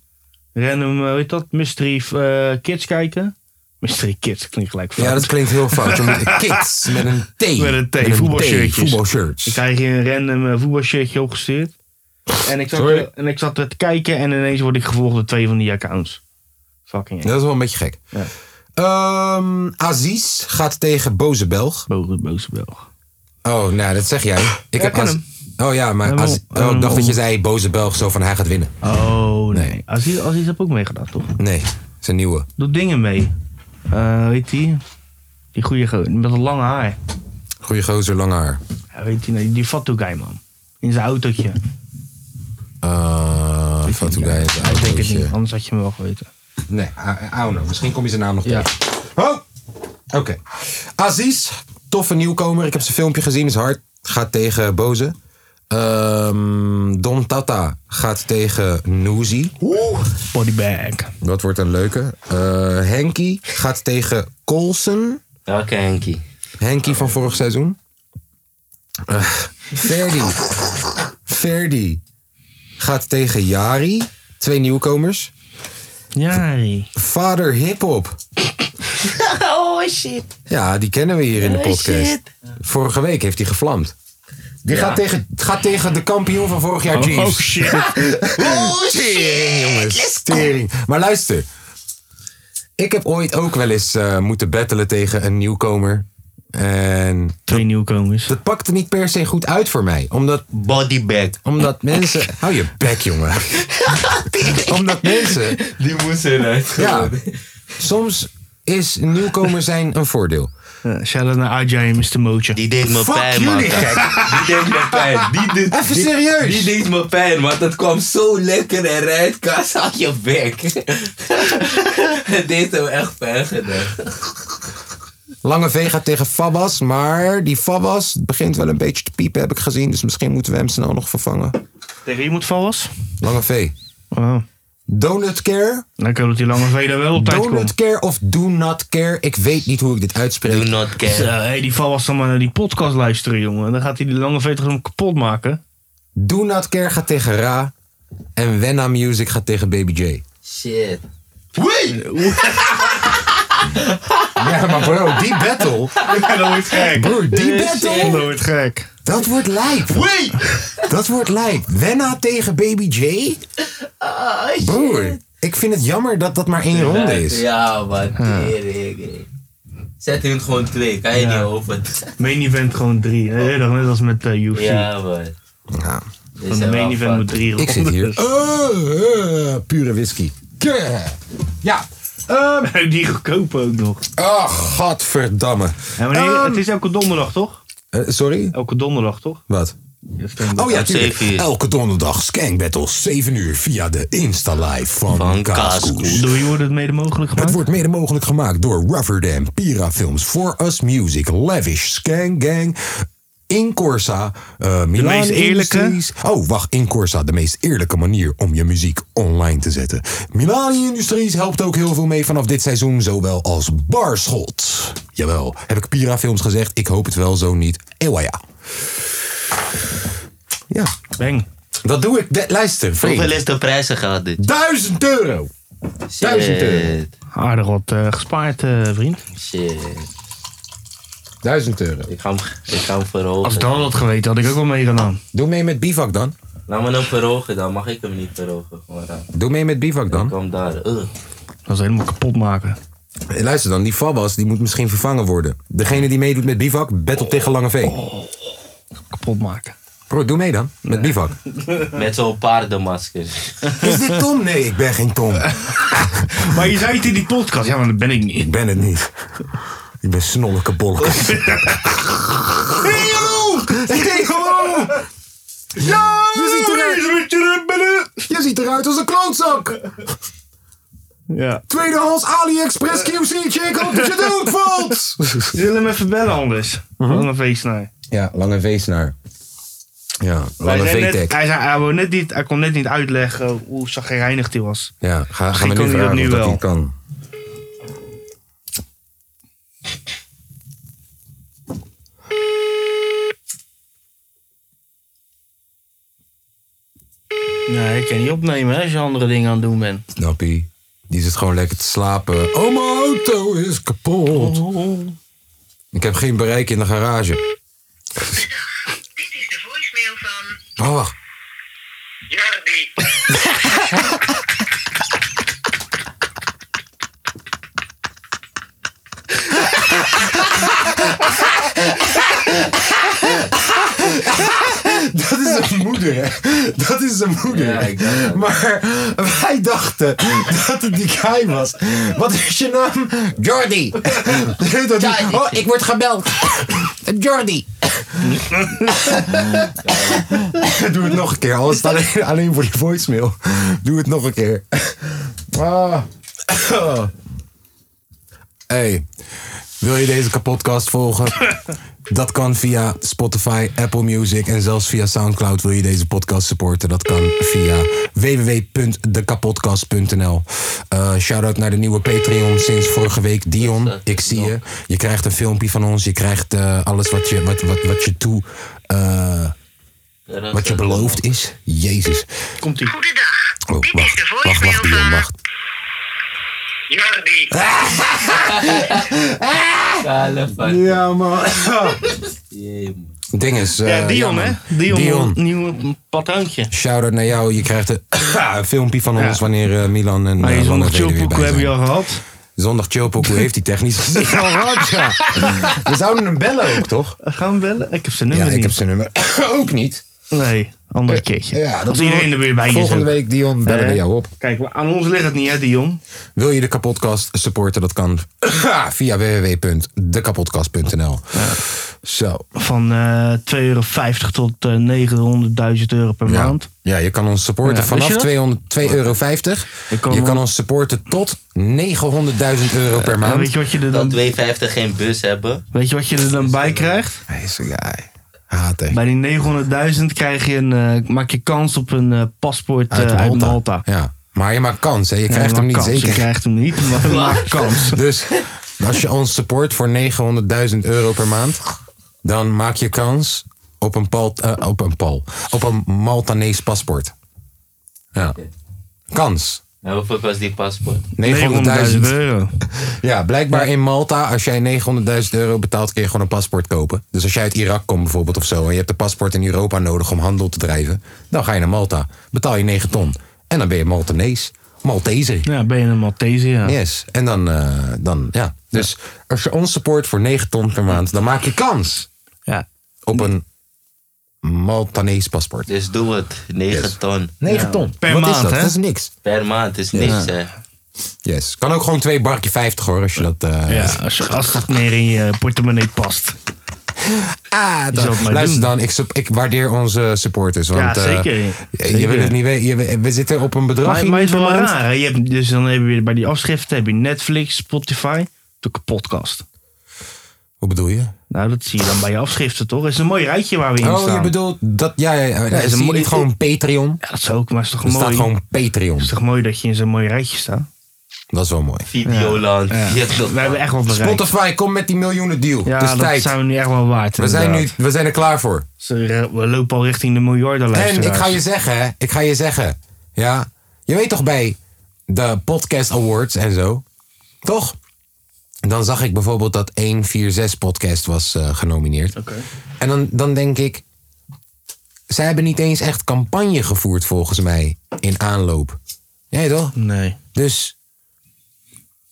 B: random, eh, weet dat, mystery eh, kids kijken. Mystery Kids klinkt gelijk fout.
A: Ja, dat klinkt heel fout. Je moet- Kids met een T.
B: Met een T, voetbalshirtjes.
A: voetbalshirts.
B: Dan krijg je een random eh, voetbalshirtje opgestuurd. En ik,
A: Sorry.
B: zat, eh, en ik zat te kijken en ineens word ik gevolgd door twee van die accounts. Fucking echt.
A: Dat is wel een beetje gek.
B: Ja.
A: Ehm, Aziz gaat tegen Boze Belg.
B: Boze, boze Belg.
A: Oh, nou, dat zeg jij. Ik heb
B: ken
A: Az-
B: hem.
A: Oh ja, maar
B: Helemaal-
A: Az- oh, ik
B: helemaal
A: dacht dat je
B: om-
A: zei Boze Belg zo van hij gaat winnen.
B: Oh, nee.
A: Nee.
B: Aziz, Aziz heb ook meegedaan, toch?
A: Nee, zijn nieuwe.
B: Doet dingen mee. Eh, weet die? Die goede gozer met dat lange haar.
A: Goeie gozer, lang haar.
B: Ja, weet die, nou, die Fatu guy, man. In zijn autootje.
A: Eh, Fatu Guy is een
B: Ik denk het
A: autootje.
B: niet, anders had je me wel geweten.
A: Nee, Auno. Misschien kom je zijn naam nog tegen. Oh! Oké. Aziz, toffe nieuwkomer. Ik heb zijn filmpje gezien, is hard. Gaat tegen Boze. Ehm, Don Tata gaat tegen Noozy.
B: Bodybag.
A: Dat wordt een leuke. Eh Henky gaat tegen Colson.
C: Welke Henkie?
A: Henky van vorig seizoen. Eh, Ferdi. Ferdi gaat tegen Jari. Twee nieuwkomers.
B: Jari.
A: Vader Hip Hop.
C: Oh shit.
A: Ja, die kennen we hier in de
C: Oh,
A: podcast.
C: shit.
A: Vorige week heeft hij gevlamd. Die gaat, tegen, gaat tegen de kampioen van vorig jaar, Chiefs.
B: Oh shit.
C: Oh
A: Tering, jongens. Tering. Maar luister. Ik heb ooit ook wel eens eh, moeten battelen tegen een nieuwkomer. En
B: Twee nieuwkomers.
A: dat pakte niet per se goed uit voor mij. Omdat,
C: Bodybag.
A: omdat mensen... Hou je bek, jongen. omdat mensen...
C: Die moest eruit.
A: Ja, soms is een nieuwkomer zijn een voordeel.
B: Ja, Shout-out naar Ajay en Mr. Mojo.
C: Die deed me
A: Fuck
C: pijn, man.
A: jullie,
C: Die deed me pijn. Die deed,
A: Even
C: die-
A: serieus.
C: Die deed me pijn, want dat kwam zo lekker eruit. Kas aan je bek. Het deed hem echt pijn gedaan.
A: Lange V gaat tegen Fabas, maar die Fabas begint wel een beetje te piepen, heb ik gezien. Dus misschien moeten we hem snel nog vervangen.
B: Tegen wie moet Vallas?
A: Lange V.
B: Oh.
A: Donut Care,
B: Dan kan dat die lange veder wel op tijd
A: Donut
B: komt.
A: Care of Do Not Care. Ik weet niet hoe ik dit
C: Do
A: uitspreek.
C: not care.
B: hey, die Vallas dan maar naar die podcast luisteren, jongen. Dan gaat hij die lange veder hem kapot maken.
A: Do Not Care gaat tegen Ra. En Wenna Music gaat tegen Baby J.
C: Oh, Shit.
A: Ja, maar bro, die battle.
B: dat wordt gek.
A: Broer, die battle.
B: Dat wordt gek.
A: Dat wordt lijp. Dat wordt lijp. Wenna tegen Baby J? Broer, ik vind het jammer dat dat maar één ronde is.
C: Ja, man. Tering. Zet hun gewoon twee. Kan je
B: Ja.
C: niet open.
B: Main event gewoon drie. Eh, dat net als met eh, UFC.
C: Ja, man.
A: Ja.
C: Dit
B: Van de
C: zijn wel
B: main event moet
C: fucked.
B: drie
A: Ik zit hier. Eh, eh, pure whisky. Keh. Ja. Ehm,
B: Die goedkoop ook nog.
A: oh, godverdamme.
B: Ja, maar nee,
A: Ehm.
B: het is elke donderdag, toch?
A: Eh, sorry?
B: Elke donderdag, toch?
A: Wat?
B: Dat is
A: Oh ja,
C: Om
A: tuurlijk.
C: zeven uur.
A: Elke donderdag Skank Battles, 7 uur via de Insta-live van,
C: Van
A: Kaaskoes.
C: Kaaskoes.
B: Door wie wordt het mede mogelijk
A: Het
B: gemaakt?
A: wordt mede mogelijk gemaakt door Rufferdam, Pira Films, For Us Music, Lavish, Skank Gang, Incorsa, eh Milan
B: meest eerlijke?
A: Industries. Oh, wacht, Incorsa, de meest eerlijke manier om je muziek online te zetten. Milan Industries helpt ook heel veel mee vanaf dit seizoen, zowel als Barschot. Jawel, heb ik Pira Films gezegd? Ik hoop het wel, zo niet. Ewa ja. Ja,
B: Bang.
A: dat doe ik. De- luister,
C: Hoeveel
A: vriend.
C: is de prijzen gehad dit?
A: 1000 euro. 1000 euro.
C: Shit.
B: Aardig wat eh, gespaard, eh, vriend.
C: Shit.
A: 1000 euro.
C: Ik ga hem, ik ga hem verhogen.
B: Als ik dat had geweten, had ik ook wel meegedaan.
A: Doe mee met Bivak dan.
C: Laat me hem verhogen, dan mag ik hem niet verhogen. Gewoon dan.
A: Doe mee met Bivak dan.
C: Kom daar. Ugh.
B: Dat is helemaal kapot maken.
A: Hey, luister dan, die Fabas die moet misschien vervangen worden. Degene die meedoet met Bivak, battle tegen Lange V.
B: Kapot maken.
A: Bro, doe mee dan, met Bivak.
C: Met zo'n paardenmasker.
A: Is dit Tom? Nee, ik ben geen Tom.
B: Maar je zei het in die podcast. Ja, maar dat ben ik niet.
A: Ik ben het niet. Ik ben snolleke bolken. Hey, hallo! Hey, hallo! Ja! Je ziet, eruit, je ziet eruit als een klootzak!
B: Ja.
A: Tweedehands AliExpress QC check op dat je doodvalt!
B: Zullen hem even bellen anders? Lange feestnaar.
A: Ja, Lange V-snaar. Ja, Lange
B: Hij, zei net-
A: V-tech.
B: hij, zei- hij, wou net niet- hij kon net niet uitleggen hoe zagrijnig hij was.
A: Ja, ga, ga
B: Misschien
A: me
B: kan
A: nu
B: hij dat
A: vragen
B: nu
A: of dat
B: wel.
A: hij kan.
B: Nee, ik kan niet opnemen hè, als je andere dingen aan het doen bent.
A: Snappie. Die zit gewoon lekker te slapen. Oh, mijn auto is kapot. Ik heb geen bereik in de garage.
G: Dit is de voicemail van
A: Oh, wacht.
G: Jordi.
A: Dat is zijn moeder, hè? Dat is zijn moeder. maar wij dachten dat het die guy was. Wat is je naam?
D: Jordi.
A: Dat die-
D: Oh, ik word gebeld. Jordi.
A: Doe het nog een keer, anders staat alleen, alleen voor die voicemail. Doe het nog een keer. Ah. Hey, wil je deze podcast volgen? Dat kan via Spotify, Apple Music en zelfs via Soundcloud wil je deze podcast supporten. Dat kan via www.dekapodcast.nl. Eh Shout-out naar de nieuwe Patreon sinds vorige week. Dion, ik zie je. Je krijgt een filmpje van ons. Je krijgt eh, alles wat je, wat, wat, wat je toe... eh, wat je beloofd is? Jezus.
B: Komt ie.
G: Goedendag.
A: Oh,
G: Dit is de
A: wacht, wacht,
G: voicemail
A: wacht, Dion,
G: van
A: wacht.
G: Jordi.
A: Ja, man. Ding is... eh,
B: Ja, Dion,
A: man.
B: hè? Dion,
A: Dion.
B: nieuw patroontje.
A: Shout-out naar jou. Je krijgt een, een filmpje van ons
B: Ja.
A: wanneer eh, Milan en
B: Maar
A: eh,
B: je zondag
A: Lennart er weer bij
B: chillpoeken heb
A: zijn.
B: je al gehad.
A: Zondag Chilpoku heeft hij technisch gezien. ja. We zouden hem bellen ook, toch?
B: Eh, Gaan we bellen? Ik heb zijn
A: Ja,
B: nummer
A: ik
B: niet.
A: heb zijn nummer ook niet. Eh,
B: Nee, andere keertje.
A: Ja, doen
B: Als
A: we
B: iedereen er weer bij is
A: Volgende
B: ook.
A: week, Dion, bellen we
B: Eh.
A: jou op.
B: Kijk, aan ons ligt het niet, hè, Dion?
A: Wil je de kapotkast supporten? Dat kan via www.dekapodcast.nl. Zo.
B: Van eh 2,50 euro tot eh, 900.000 euro per
A: Ja.
B: maand.
A: Ja, je kan ons supporten
B: Ja, wist
A: vanaf
B: je dat?
A: 200 2,50 euro. Je
B: kan
A: kan,
B: wel-
A: ons supporten tot 900.000 euro per
B: En
A: maand.
B: weet je wat je er
C: Dat
B: dan,
C: 250 geen bus hebben.
B: weet je wat je er dan bij krijgt?
A: Hij is een guy. Haat, hè.
B: Bij die 900.000 krijg je een, eh, maak je kans op een eh, paspoort eh,
A: Uit
B: uit,
A: Malta.
B: Malta.
A: Ja. Maar je maakt kans, hè. Je
B: Nee,
A: krijgt hem
B: maar
A: niet
B: kans.
A: zeker.
B: Je krijgt hem niet, maar je maakt kans.
A: Dus als je ons support voor 900.000 euro per maand, dan maak je kans op een, pal, eh, op een, pal, op een Maltanees paspoort. Ja. Kans.
C: En hoeveel kost die paspoort?
A: 900.000.
B: 900.000 euro.
A: Ja, blijkbaar in Malta, als jij 900.000 euro betaalt, kun je gewoon een paspoort kopen. Dus als jij uit Irak komt bijvoorbeeld of zo, en je hebt een paspoort in Europa nodig om handel te drijven, dan ga je naar Malta. Betaal je 9 ton. En dan ben je Maltanees. Malteser.
B: Ja, ben je een Maltese, ja.
A: Yes. En dan, eh, dan ja. Dus als je ons support voor 9 ton per maand, dan maak je kans
B: ja.
A: op een Maltanees paspoort.
C: Dus doe het. 9
A: Yes.
C: ton
A: 9 ton.
B: Per
A: Wat is
B: maand,
A: dat?
B: hè?
A: Dat is niks.
C: per maand. is niks, hè?
A: Yes. Kan ook gewoon twee barkje 50 hoor, als je dat... eh,
B: Ja, als, je- als dat meer in je portemonnee past.
A: Ah, dan-
B: zou het maar
A: luister
B: doen.
A: dan, ik, sup- ik waardeer onze supporters. Want,
B: Ja,
A: eh,
B: zeker.
A: je- Je
B: Zeker.
A: wil het niet weten. je we- We zitten op een bedrag.
B: Maar,
A: hier
B: maar het is wel
A: per maand.
B: raar. hè. Je hebt, dus dan heb je bij die afschriften heb je Netflix, Spotify, de podcast.
A: Hoe bedoel je?
B: Nou, dat zie je dan bij je afschriften, toch? Het is een mooi rijtje waar we in
A: Oh,
B: staan.
A: je bedoelt dat. Ja, ja, ja.
B: is
A: is
B: een
A: zie je
B: mooi-
A: niet gewoon Patreon?
B: Ja, dat is ook, maar het is toch
A: Er
B: mooi.
A: staat gewoon Patreon.
B: Het is toch mooi dat je in zo'n mooi rijtje staat.
A: Dat is wel mooi.
C: Videoland. Vietnam.
B: We hebben echt wat bereikt.
A: Spotify, kom met die miljoenen deal.
B: ja,
A: het is
B: dat
A: tijd.
B: zijn we nu echt wel waard.
A: we, zijn nu,
B: inderdaad.
A: we zijn er klaar voor.
B: Ze- We lopen al richting de miljarden
A: En ik ga je zeggen, hè, ik ga je zeggen. Ja, je weet toch bij de podcast awards en zo, toch? Dan zag ik bijvoorbeeld dat 146 podcast was eh, genomineerd. En dan, dan denk ik, zij hebben niet eens echt campagne gevoerd volgens mij in aanloop. Nee toch?
B: Nee.
A: Dus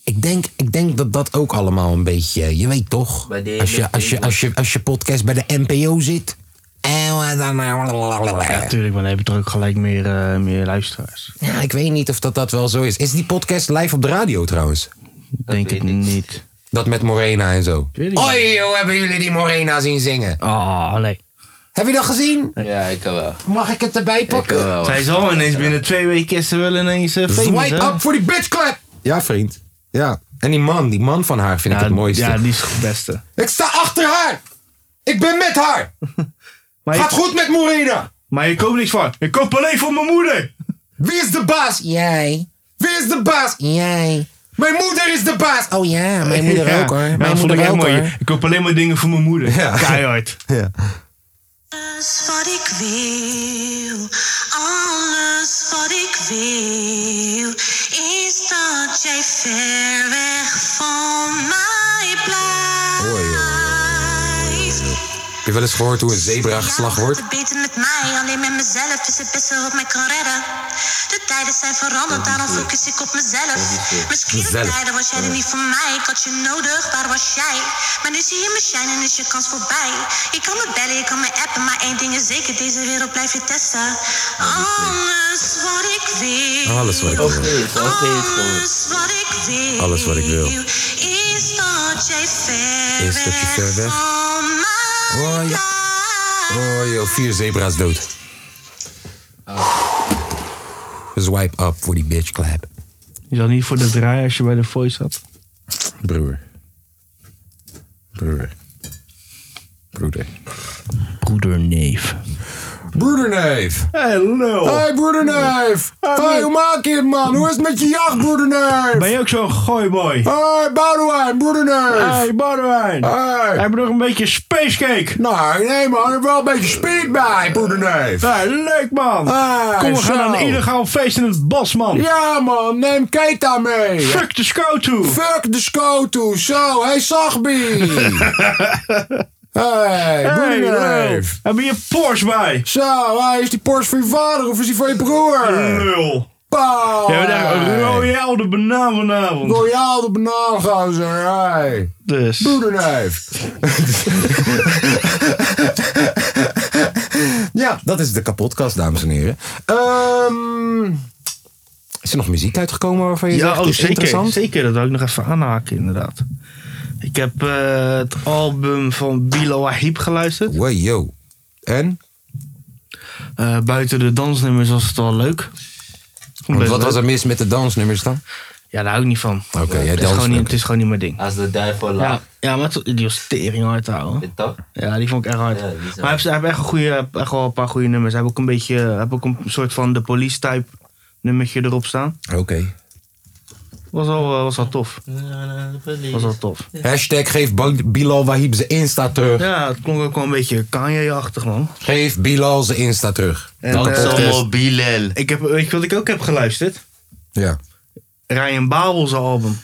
A: ik denk, ik denk dat dat ook allemaal een beetje, je weet toch?
C: Bij de
A: Als je, als je, als je, als je podcast bij de NPO zit. En dan...
B: Natuurlijk, maar dan heb je er ook gelijk meer, eh, meer luisteraars.
A: Ja, ik weet niet of dat, dat wel zo is. Is die podcast live op de radio trouwens?
B: Denk ik
C: weet ik.
B: niet.
A: Dat met Morena en zo.
B: weet het
A: Oi, joh, hebben jullie die Morena zien zingen?
B: Oh, nee.
A: Heb je dat gezien?
C: Ja, ik kan wel.
A: Mag ik het erbij
C: Ik kan
A: pakken?
C: wel.
B: Zij zal ineens binnen twee weken is ze wel ineens eh, famous,
A: Swipe
B: hè?
A: up voor die bitch clap! Ja, vriend. Ja. En die man, die man van haar vind
B: Ja,
A: ik het mooiste.
B: Ja, die is het beste.
A: Ik sta achter haar! Ik ben met haar!
B: Maar
A: Gaat
B: je,
A: goed met Morena!
B: maar je koopt niks van. Ik koop alleen voor mijn moeder.
A: Wie is de baas?
D: Jij.
A: Wie is de baas?
D: Jij.
A: Mijn moeder is de baas!
D: Oh ja, mijn moeder
B: Ja.
D: ook hoor.
B: Ja,
D: Mijn
B: dat vond ik
D: moeder
B: echt
D: ook
B: mooi.
D: hoor.
B: Ik koop alleen maar dingen voor mijn moeder.
A: Ja.
B: Keihard.
A: Ja.
G: Alles wat ik wil, alles wat ik wil, is dat
A: wel eens gehoord hoe een zebra geslacht wordt?
G: Het beter met mij, alleen met mezelf is het beste wat mij kan redden. De tijden zijn veranderd, daarom focus ik op mezelf. Misschien op
A: Mezelf.
G: tijden was jij er niet voor mij. Ik had je nodig, waar was jij? Maar nu zie je me shine en is je kans voorbij. Je kan me bellen, je kan me appen, maar één ding is zeker: deze wereld blijf je testen. Alles wat ik wil.
A: Alles wat ik wil.
G: Alles wat ik wil.
A: Alles wat ik wil.
G: Is dat jij ver
A: Is dat je ver
G: weg
A: weg-
G: van mij
A: Oh, ja.
G: blijft.
A: Oh joh, vier zebra's dood. Oh. Swipe up voor die bitch clap.
B: Je zal niet voor de draai als je bij de voice had.
A: Broer. Broer. Broeder.
B: Broederneef.
A: Broederneef!
B: Hey, lul.
A: Hey broederneef! Hey, hoe maak je het man? Hoe is het met je jacht broederneef?
B: Ben je ook zo'n gooiboy?
A: Hey Boudewijn broederneef!
B: Hey, Boudewijn.
A: Hey!
B: Heb je nog een beetje spacecake?
A: Nou, nee man, er is wel een beetje speed bij broederneef!
B: Hey, leuk man.
A: Hey,
B: Kom, we
A: zo.
B: gaan aan een illegaal feest in het bos, man.
A: Ja man, neem Keita mee!
B: Fuck de scout toe.
A: Fuck de scout toe, zo, hey Sagbi! hey,
B: Hey, lul.
A: broederneef!
B: Heb je je Porsche bij?
A: Zo, hey, is die Porsche voor je vader of is die voor je broer?
B: Lul.
A: Pauw!
B: Ja, we hebben een royale de banaan vanavond.
A: Royaal de banaan, gozer, hey!
B: Dus.
A: Broederneef. ja, dat is de kapotkast, dames en heren. Ehm, is er nog muziek uitgekomen waarvan je zegt,
B: Ja, oh,
A: is
B: zeker.
A: interessant?
B: Zeker, dat wil ik nog even aanhaken, inderdaad. Ik heb eh, het album van Bilo Wahib geluisterd.
A: Wow, yo. En?
B: Eh, buiten de dansnummers was het wel leuk.
A: Want wat was er mis met de dansnummers dan?
B: Ja, daar hou ik niet van.
A: Oké, jij
B: het, is
A: danst
B: gewoon niet,
A: ook.
B: het is gewoon niet mijn ding.
C: Als de duivel
B: Ja,
C: lacht.
B: ja maar het- die was tering hard houden.
C: Dit toch?
B: Ja, die vond ik erg hard.
C: Ja, die is
B: maar
C: hard.
B: hij heeft, hij heeft echt, een goede, echt wel een paar goede nummers. Hij heeft ook een beetje hij heeft ook een soort van de police type nummertje erop staan.
A: Oké.
B: Was wel, eh, was wel tof. Was wel tof.
A: Hashtag geef Bal- Bilal Wahib zijn Insta terug.
B: Ja, het klonk ook wel een beetje Kanye-achtig, man.
A: Geef Bilal zijn Insta terug.
B: En,
C: Dat
B: eh,
C: is allemaal Bilal.
B: ik heb, weet je wat ik ook heb geluisterd?
A: Ja.
B: Ryan Babel's album.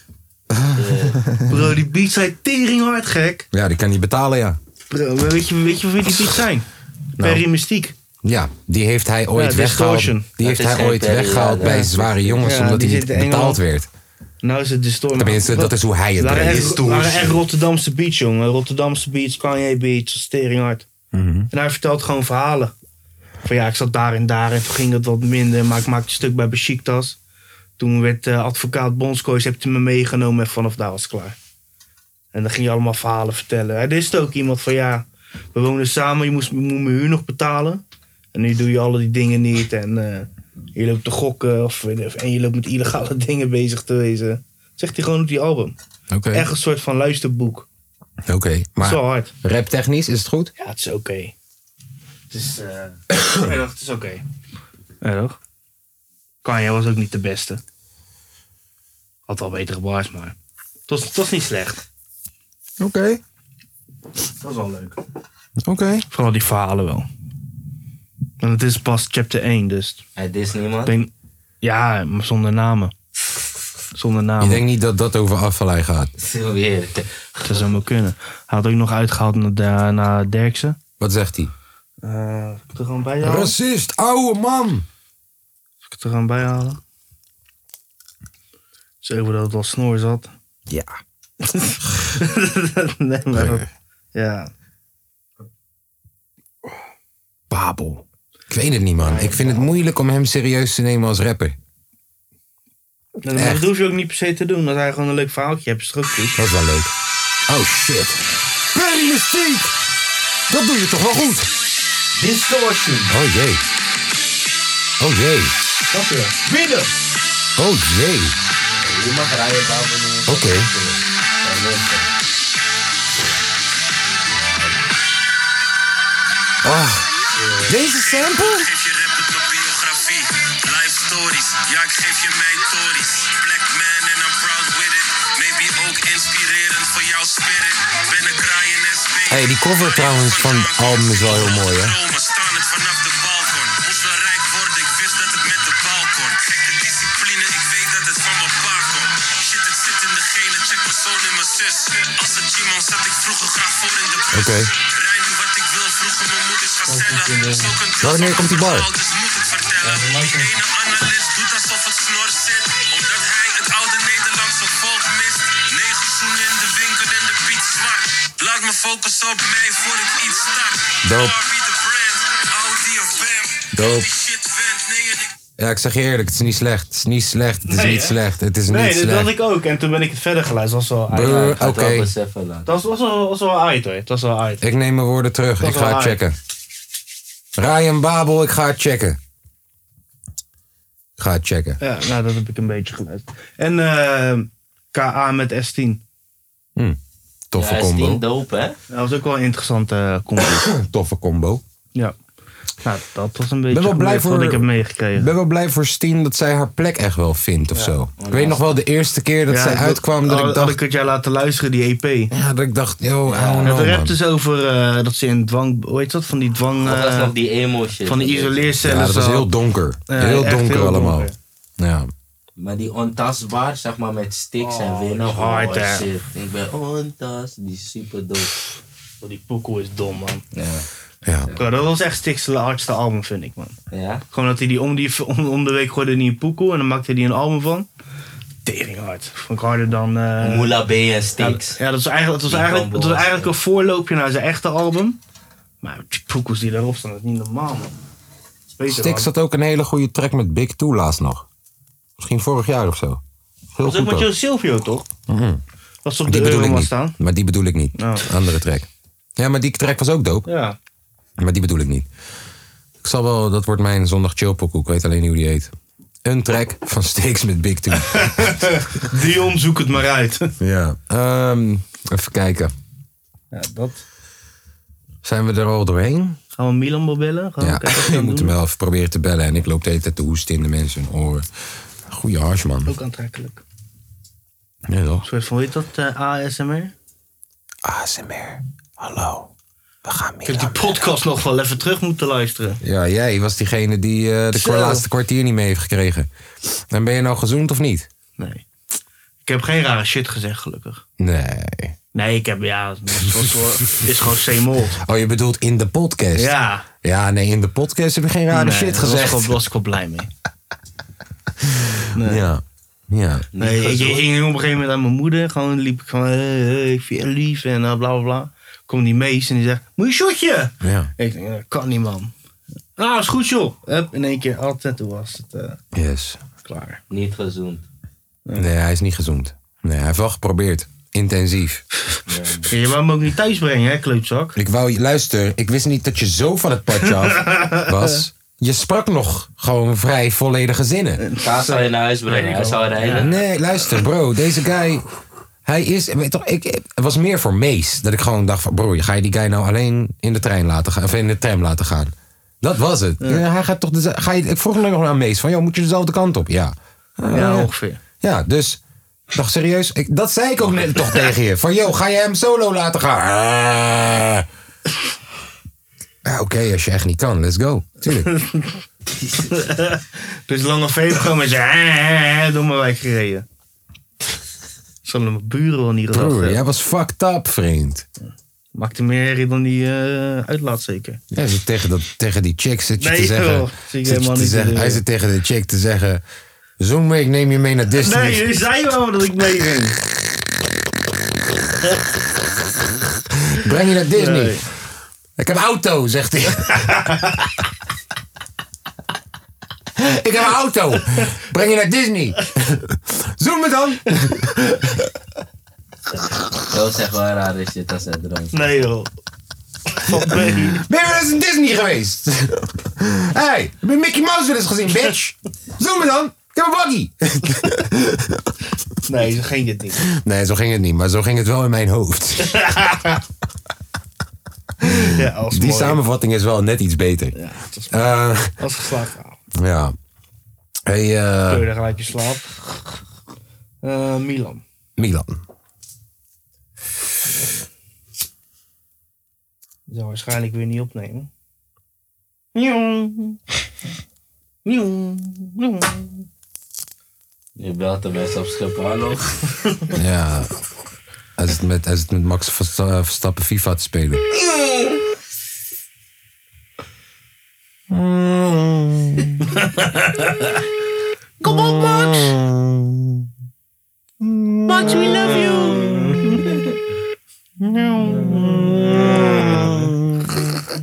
B: Bro, die beats zijn tering hard gek.
A: Ja, die kan niet betalen, ja.
B: Bro, maar weet je, weet je wat die beats zijn?
C: Nou.
B: Perry Mystiek.
A: Ja, die heeft hij ooit
B: Ja,
A: weggehaald.
B: Distortion.
A: Die heeft
C: Dat is
A: hij
C: geen
A: ooit
C: periode.
A: weggehaald bij zware jongens,
B: Ja,
A: omdat
B: die
A: hij niet
B: zit in Engeland.
A: betaald werd.
B: Nou is het de storm.
A: Tenminste, dat is hoe hij het
B: waren
A: brengt.
B: echt, waren echt Rotterdamse beats, jongen. Rotterdamse beats, Kanye beats, tering hard.
A: Mhm.
B: En hij vertelt gewoon verhalen. Van ja, ik zat daar en daar en toen ging het wat minder. Maar ik maakte een stuk bij Besiktas. Toen werd eh, advocaat Bonskois, hebt hij me meegenomen en vanaf daar was het klaar. En dan ging je allemaal verhalen vertellen. Er is ook iemand van ja, we woonden samen, je moest, je moet mijn huur nog betalen. En nu doe je alle die dingen niet en eh, je loopt te gokken of, en je loopt met illegale dingen bezig te wezen. Zegt hij gewoon op die album.
A: Oké,
B: Echt een soort van luisterboek.
A: oké.
B: Maar, zo
A: maar
B: hard.
A: raptechnisch is het goed?
B: Ja, het is oké. Het is, eh, ja, toch, het is oké. Ja, toch? Kanye was ook niet de beste. Had wel betere bars, maar het was, het was niet slecht.
A: Oké,
B: Dat was wel leuk.
A: oké.
B: Vooral die verhalen wel. En het is pas chapter 1, dus
C: Hij is
B: ik
C: niemand.
B: denk... Ja, maar zonder namen. Zonder
A: Ik
B: namen.
A: denk niet dat dat over afvallei gaat.
C: Zo weer.
B: Dat zou maar kunnen. Hij had ook nog uitgehaald naar, de- naar Derksen.
A: Wat zegt hij?
B: Eh, heb ik er gewoon bij halen? Zal
A: Racist, ouwe man!
B: ik het er gewoon bij halen? Zo dat het wel snor zat.
A: Ja.
B: nee, maar... dat- Ja.
A: Babel. Ik weet het niet, man. Ik vind het moeilijk om hem serieus te nemen als rapper.
B: Maar Dat hoef je ook niet per se te doen. Als hij gewoon een leuk verhaaltje hebt, is het ook goed.
A: Dat is wel leuk. Oh shit. Perry Mystique! Dat doe je toch wel goed?
B: Distortion.
A: Oh jee. Oh jee.
B: Snap je? Binnen!
A: Oh jee.
C: Je mag rijden, Babel. niet.
A: Oké.
C: Ja, mensen.
A: Ah. Deze sample?
H: geef je rapper mijn biografie. Life stories, ja ik geef je mijn stories. Black man and I'm proud with it. Maybe ook inspirerend voor jouw spirit. Ben een kraaien en spin.
A: Hey, die cover trouwens van het album is wel heel mooi, hè?
H: Dromen staan het vanaf de balkon. Moest wel rijk worden, ik wist dat het met de bal kon. Gekke discipline, ik weet dat het van mijn pa komt. Shit, het zit in de genen, check mijn zoon en mijn zus. Als het G-man zat ik vroeger graag voor in de bus.
A: Oké.
H: Rij nu wat ik wil vroeger mijn moeders gaan cellen. Zo kan
D: Wanneer komt die bar?
H: Laat me focus op mij voor ik iets start.
A: Dope.
H: Audi of BAM.
A: Dope.
H: Shit vent, nee en ik
A: Ja, ik zeg je eerlijk, het is niet slecht. Het is niet slecht. Het is
B: Nee,
A: niet
B: hè?
A: slecht. Het is
B: nee,
A: niet
B: dat
A: slecht.
B: had ik ook. En toen ben ik het verder geluisterd. Dat was wel
A: Brr,
B: uit.
A: Oké.
B: Dat was wel, was wel uit hoor. Dat was wel uit.
A: Ik neem mijn woorden terug.
B: Dat
A: ik
B: is
A: ga
B: wel
A: het
B: hard.
A: checken. Ryan Babel, ik ga het checken. Ik ga het checken.
B: Ja, nou dat heb ik een beetje geluisterd. En eh, KA met S10.
A: Hm. Toffe combo.
C: dope, hè?
B: Dat was ook wel een interessante eh, combo.
A: Toffe combo.
B: ja. Nou, dat was een beetje
A: ben wel blij
B: gebeurd
A: voor,
B: wat ik heb meegekregen.
A: ben wel blij voor Steen dat zij haar plek echt wel vindt of zo. Ik weet nog wel de eerste keer dat
B: Ja,
A: zij
B: ik-
A: uitkwam dat
B: had-
A: ik
B: Had
A: dacht...
B: ik het jou laten luisteren, die E EP.
A: Ja, dat ik dacht, yo, I don't
B: Het
A: know,
B: rept
A: man.
B: dus over eh, dat ze in dwang, hoe heet dat, van die dwang...
C: Dat was
B: eh,
C: nog die emo shit.
B: van die isoleercellen.
A: Ja, dat was
B: zat.
A: heel donker.
B: Ja,
A: heel
B: echt
A: donker
B: heel
A: allemaal.
B: donker.
A: Ja.
C: Maar die ontastbaar, zeg maar, met sticks en winnen. Oh,
B: hard, hè?
C: shit. Ik ben ontastbaar. Die is super dope.
B: Oh, Die pokoe is dom, man.
C: Ja.
A: Ja.
B: Bro, dat was echt Stix' hardste album, vind ik, man.
C: Ja?
B: Gewoon dat hij die om, die, om, om de week gooide hij een pokoe en dan maakte hij een album van. Tering hard. Vond ik harder dan... eh,
C: Moula B en
B: ja,
C: sticks.
B: ja, dat was eigenlijk, het
C: Die
B: was eigenlijk, het
C: combo
B: was
C: was
B: eigenlijk een voorloopje naar zijn echte album. Maar die pokoes die daarop staan, dat is niet normaal, man.
A: Stix had ook een hele goede track met Big Two laatst nog. Misschien vorig jaar of zo. Heel
B: Dat is ook
A: goed
B: met
A: ook.
B: Joe Silvio, toch? Dat is toch
A: Die
B: de
A: bedoel ik
B: Euroma
A: niet.
B: staan?
A: Maar die bedoel ik niet.
B: Oh.
A: Andere track. Ja, maar die track was ook dope.
B: Ja.
A: Maar die bedoel ik niet. Ik zal wel, dat wordt mijn zondag chillpokoe. Ik weet alleen niet hoe die heet. Een track van Steaks met Big Two.
B: Dion, zoek het maar uit.
A: ja. Ehm, even kijken.
B: Ja, dat.
A: Zijn we er al doorheen?
B: Gaan we Milan wel bellen? Gaan we
A: ja,
B: kijken wat
A: je
B: we
A: moet hem
B: doen?
A: wel even proberen te bellen. En ik loop de hele tijd te hoesten in de mensen hun oren. Goeie hash, man.
B: Ook aantrekkelijk. Een
A: Ja, toch?
B: soort van, hoe heet dat? eh, ASMR?
A: ASMR. Hallo. We gaan
B: Ik heb die
A: Milan.
B: podcast nog wel even terug moeten luisteren.
A: Ja, jij was diegene die eh, de
B: Zo.
A: kwa- laatste kwartier niet mee heeft gekregen. En ben je nou gezoend of niet?
B: Nee. Ik heb geen rare shit gezegd, gelukkig.
A: Nee.
B: Nee, ik heb, ja, het is gewoon zo- is gewoon c
A: Oh, je bedoelt in de podcast?
B: Ja.
A: Ja, nee, in de podcast heb je geen rare
B: Nee,
A: shit
B: Daar was ik
A: gezegd.
B: wel- was ik wel blij mee.
A: Ja. Ja.
B: Nee, ik ik ging op een gegeven moment aan mijn moeder. Gewoon liep ik van, hey, hey, ik vind je lief en eh, bla bla bla. Komt die mees en die zegt, moet je een shotje?
A: Ja.
B: Ik denk, dat kan niet man. Nou, is goed joh. Hup, in één keer altijd, toen was het eh,
A: Yes.
B: klaar.
C: Niet gezoend.
A: Nee, hij is niet gezoend. Nee, hij heeft wel geprobeerd. Intensief.
B: Ja, je wou hem ook niet thuis brengen hè, kleutzak.
A: Ik wou, luister, ik wist niet dat je zo van het padje af was. Je sprak nog gewoon vrij volledige zinnen.
C: Kaas zou je naar huis brengen. Hij zou rijden.
A: Nee, luister, bro, deze guy. Hij is, weet toch, ik, het was meer voor Mees. Dat ik gewoon dacht van, bro, ga je die guy nou alleen in de trein laten gaan? Of in de tram laten gaan? Dat was het. Ja, hij gaat toch, de, ga je, ik vroeg nog aan Mees van, joh, moet je dezelfde kant op? Ah, Ja. Eh,
B: Ja, ongeveer.
A: Ja, dus. ik Dacht serieus, ik, dat zei ik ook net toch tegen je. Van joh, ga je hem solo laten gaan? Ah. Ja, Oké, als je echt niet kan, let's go. Tuurlijk.
B: Dus Lange V heeft gewoon met zijn eh, eh, eh, door mijn wijk gereden. Zullen mijn buren wel niet gedacht
A: Broer,
B: hebben.
A: Oh, jij was fucked up, vriend.
B: Maakte meer herrie dan die eh, uitlaat zeker.
A: Hij zit tegen, dat, tegen die chick zit je
B: Nee,
A: te
B: joh,
A: zeggen.
B: zie ik
A: zit je
B: helemaal
A: te
B: niet te
A: zeggen-
B: doen.
A: hij zit tegen de chick te zeggen. Zoom mee, ik neem je mee naar Disney.
B: Nee, jullie zeiden wel dat ik mee ging.
A: Breng je naar Disney.
B: Nee.
A: Ik heb een auto, zegt hij. ik heb een auto. Breng je naar Disney. Zoem me dan.
C: Dat is echt wel rare shit als hij dronk.
B: Nee joh. Wat ben je?
A: Ben je wel eens in Disney geweest? hey, heb je Mickey Mouse wel eens gezien, bitch? Zoem me dan. Ik heb een buggy.
B: Nee, zo ging dit niet.
A: Nee, zo ging het niet. Maar zo ging het wel in mijn hoofd.
B: Ja, als
A: Die samenvatting is wel net iets beter. Eh, Ja.
B: Als geslaagd. Ah,
A: ja. Hey, eh,
B: Kun je daar gelijk in slaap. Eh, Milan.
A: Milan.
B: Die zal waarschijnlijk weer niet opnemen. Njong. Njong. Njong.
C: Je belt de best op Schiphol. Hallo.
A: Ja. Hij zit met, hij zit met Max Versta- Verstappen FIFA te spelen.
H: Kom op, Max. Max, we love you.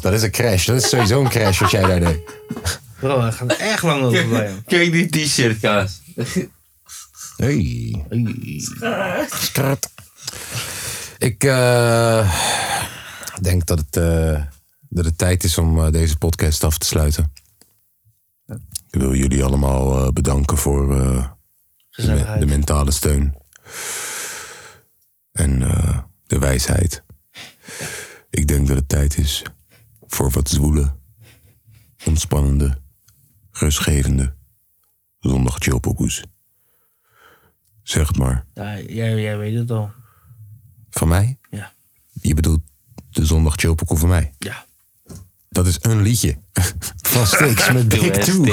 A: Dat is een crash. Dat is sowieso een crash wat jij daar deed.
B: Bro, hij gaat er echt lang over blijven.
C: Kijk die t-shirt, kaas.
A: Hey. Skrat. Ik eh, denk dat het, eh, dat het tijd is om eh, deze podcast af te sluiten. Ik wil jullie allemaal eh, bedanken voor eh, de, me- de mentale steun. En eh, de wijsheid. Ik denk dat het tijd is voor wat zwoele, ontspannende, rustgevende zondag chillpokoes. Zeg het maar.
B: Ja, jij, jij weet het al.
A: Van mij?
B: Ja.
A: Je bedoelt de zondag chillpokoe van mij?
B: Ja.
A: Dat is een liedje. Van Stix met Big Two.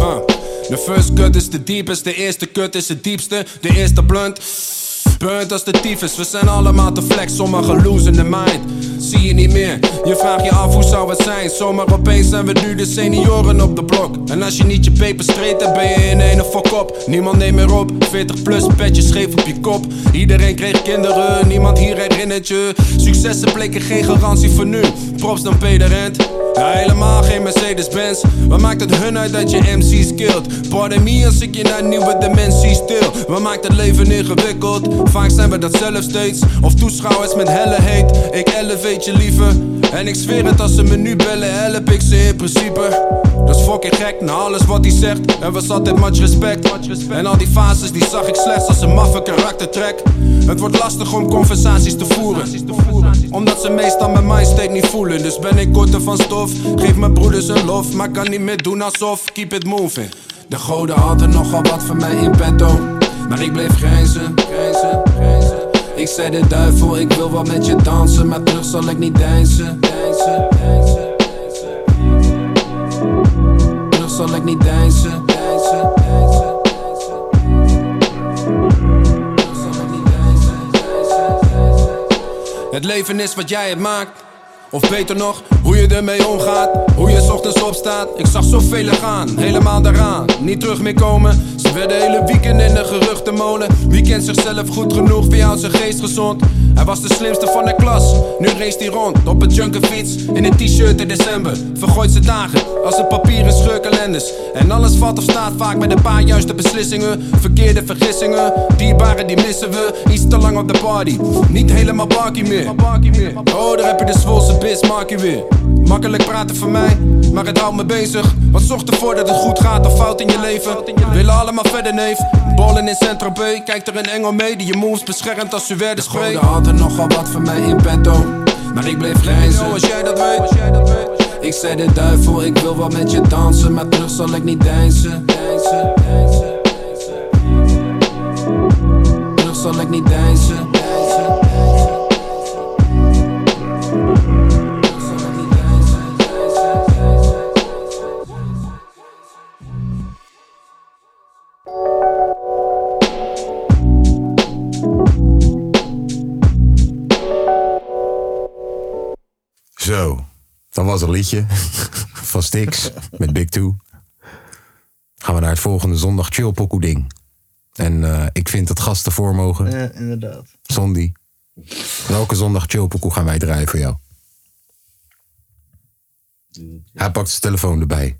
I: Uh, De first cut is de deepest, de eerste cut is de diepste, de eerste blunt. Burnt als de tyfus, we zijn allemaal te flex, sommigen lose in the mind. Zie je niet meer, je vraagt je af hoe zou het zijn. Zomaar opeens zijn we nu de senioren op de blok. En als je niet je paper streed, dan ben je in een fok op. Niemand neemt meer op, 40 plus, petje scheef op je kop. Iedereen kreeg kinderen, niemand hier herinnert je. Successen bleken geen garantie voor nu. Props dan Peter Rent. Ja, helemaal geen Mercedes-Benz. Wat maakt het hun uit dat je MC's kilt? Pardon me als ik je naar nieuwe dimensies stil. Wat maakt het leven ingewikkeld? Vaak zijn we dat zelf steeds. Of toeschouwers met helle heet. Ik elevate je liever. En ik zweer het als ze me nu bellen, help ik ze in principe. Dat is fucking gek, na alles wat hij zegt. Er was altijd much respect. En al die fases die zag ik slechts als een maffe karaktertrek. Het wordt lastig om conversaties te voeren. Omdat ze meestal mijn mindstate niet voelen Dus ben ik korter van stof Geef mijn broeders een lof Maar kan niet meer doen alsof Keep it moving De goden hadden nogal wat van mij in petto Maar ik bleef grijzen, grijzen, grijzen Ik zei de duivel ik wil wel met je dansen Maar terug zal ik niet deinzen, deinzen, deinzen Terug zal ik niet deinzen, deinzen, deinzen Het leven is wat jij het maakt. Of beter nog, hoe je ermee omgaat. Hoe je 's ochtends opstaat. Ik zag zoveel gaan, helemaal daaraan. Niet terug meer komen. Ze werden hele weekend in de geruchtenmolen. Wie kent zichzelf goed genoeg? Wie houdt zijn geest gezond? Hij was de slimste van de klas. Nu race hij rond op een junkerfiets. In een t-shirt in december. Vergooit zijn dagen als een papieren scheurkalenders. En alles valt of staat vaak met een paar juiste beslissingen. Verkeerde vergissingen. Dierbaren die missen we. Iets te lang op de party. Niet helemaal barkie meer. Oh, daar heb je de Zwolse bis, Markie weer. Makkelijk praten voor mij, maar het houdt me bezig. Wat zorgt ervoor dat het goed gaat of fout in je leven? Willen allemaal verder, neef. Bollen in Centro B. Kijkt er een engel mee die je moves beschermt als Suède spreekt. De hadden nogal wat van mij in petto. Maar ik bleef reizen. Als jij dat weet. Ik zei de duivel, ik wil wel met je dansen. Maar terug zal ik niet deinzen. Deinzen, deinzen. Terug zal ik niet deinzen. Deinzen, deinzen.
A: Zo, dat was een liedje van Stix met Big Two. Gaan we naar het volgende zondag chillpokoe ding. En eh, ik vind dat gasten voor mogen.
B: Ja, inderdaad.
A: Sondi, welke zondag chillpokoe gaan wij draaien voor jou? Hij pakt zijn telefoon erbij.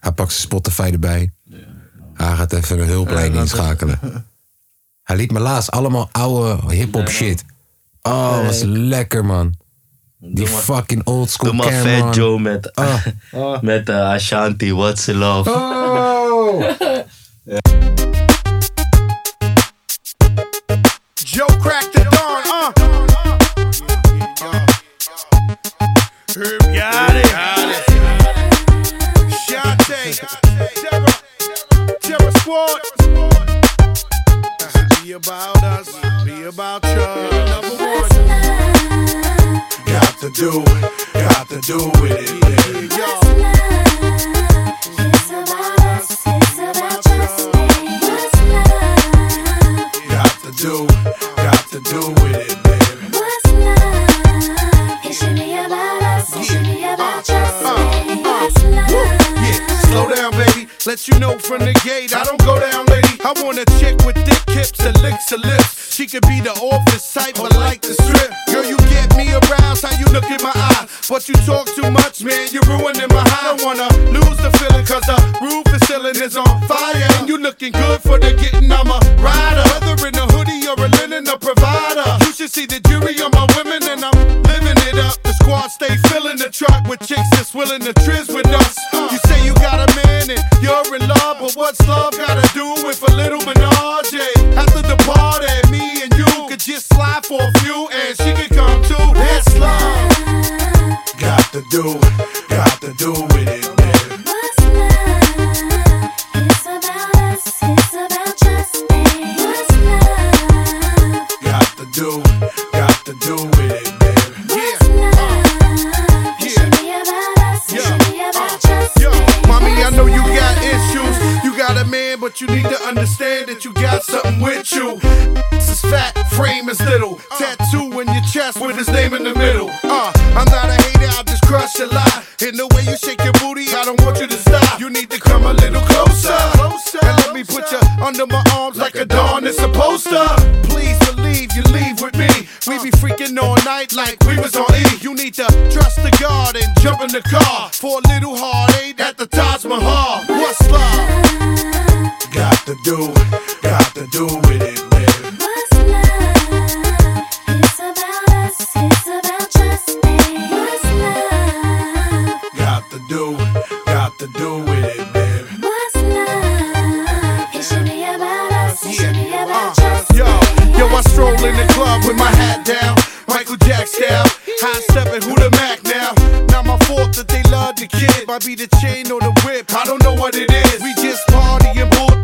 A: Hij pakt zijn Spotify erbij. Hij gaat even een hulplijn inschakelen. Hij liet me laatst allemaal oude hip-hop shit. Oh, was lekker man. Die fucking old school
C: Doe maar
A: camera.
C: Fat Joe met,
B: Ah.
C: met eh, Ashanti, What's the Love.
B: Ah.
H: Joe cracked the dawn, uh. Herb got it. Shante. Terra. Terra Squad. Be about us. Be about you. Number one. Got
J: to do it. Got to do it. Yeah. Got to do, got to do with it.
K: Slow down, baby. Let you know from the gate. I don't go down, lady. I want a chick with thick hips and licks her lips. She could be the office type, but like the strip. Girl, you get me aroused. How you look in my eye? But you talk too much, man. You're ruining my high. I don't wanna lose the feeling, cause the roof and ceiling is on fire. And you looking good for the getting. I'm a rider. Whether in a hoodie or a linen, a provider. You should see the jury on my women, and I'm living it up. The squad stay filling the truck with chicks that's willing to trizz with us. You say you got a man and you're in love, but what's love gotta do with a little menage? eh? After the party, me and you could just slide for a few, and she could come too. That's love.
J: Got to do it, got to do with it. Got to do, got to do with it.
K: Yo, mommy, I know you got issues. You got a man, but you need to understand that you got something with you. This is fat, frame is little. Tattoo in your chest with his name in the middle. Uh, I'm not a hater, I just crush a lot. And the way you shake your booty, I don't want you to stop. You need to come a little closer. And let me put you under my arms like a dawn is supposed to. Please believe you leave with me. We be freaking all night like we was on E. You need to trust the God and jump in the car for a little heartache at the Taj Mahal. What's love?
J: Got to do it, got to do with it. Got to do, got to do with it.
K: Yo, yo, I stroll in the club with my hat down, Michael Jack style, high stepping, who the Mac now? Not my fault that they love the kid, might be the chain or the whip, I don't know what it is. We just party and bull.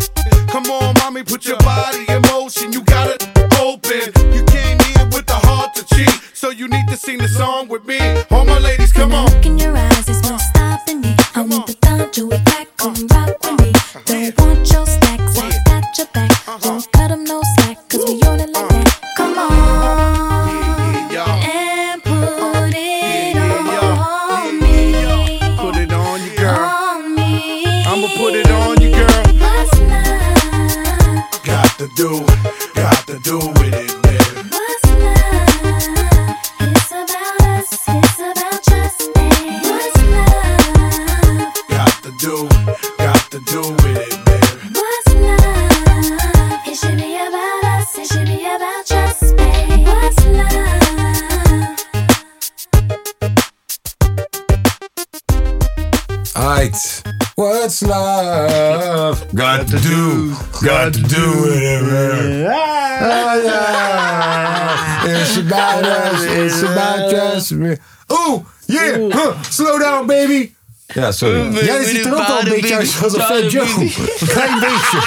K: Come on, mommy, put your body in motion, you got it open. You came here with the heart to cheat, so you need to sing the song with me. All my ladies, come on.
L: Look in your eyes, there's no stopping me. I want the thumb to it back,
J: Uh-huh.
L: come rock with me. Don't want your stacks, I got your back.
J: Uh-huh.
L: Won't cut 'em no slack, cause we on it like that. Come on. and put it on me.
K: Put it on you, girl.
L: On me.
K: I'ma put it on you, girl.
L: What's love?
J: Got to do it, got to do with it. Got to do, got to do with it.
F: Alright. What's love? Got to do. Got to do whatever. Oh, yeah. It's about us. It's about us. Oh, yeah. Huh. Slow down, baby. Ja, sorry. Jij ziet er ook al een beetje uit als een fat Joe. Klein beetje.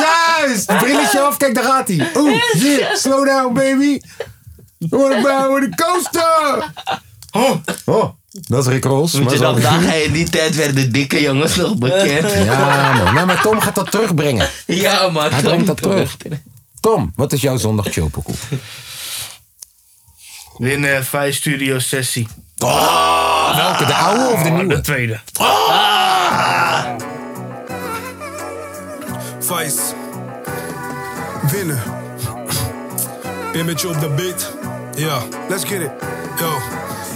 F: Juist. Brilletje af. Kijk, daar gaat hij. Oh, yeah. Slow down, baby. What about with the coaster? Oh. Oh. Dat is Rick Ross.
C: Moet
F: maar
C: je
F: zo-
C: nog dagen, in eh, die tijd werden dikke jongens nog bekend.
F: Ja, man. Nou, maar Tom gaat dat terugbrengen.
C: Ja, man.
F: Hij
C: Tom
F: brengt dat terug.
C: terug.
F: Tom, wat is jouw zondag chillpokoe?
B: Winnen 5 eh, Studio Sessie.
A: Oh,
B: Oh,
F: welke? De oude of de nieuwe?
B: De tweede.
M: Vice. Winnen. Ben met je op de beat. Ja, let's get it. Yo.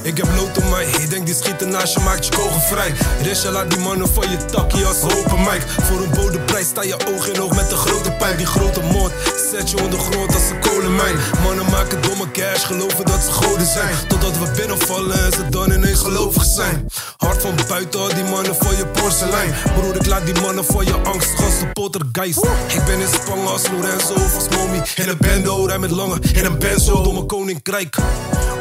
M: Ik heb lood om mij, ik denk die schieten naast je maakt je kogel vrij. Resha laat die mannen van je takkie als open mic. Voor een bodemprijs sta je oog in oog met een grote pijp. Die grote mond zet je ondergrond als een kolenmijn. Mannen maken domme cash, geloven dat ze goden zijn. Totdat we binnenvallen en ze dan ineens gelovig zijn. Hart van buiten, al die mannen voor je porselein. Broer, ik laat die mannen voor je angst, gasten poltergeist. Ik ben in Spanje als Lorenzo of als Momi. In een bendo, rij met lange, in een benzo, door mijn koninkrijk.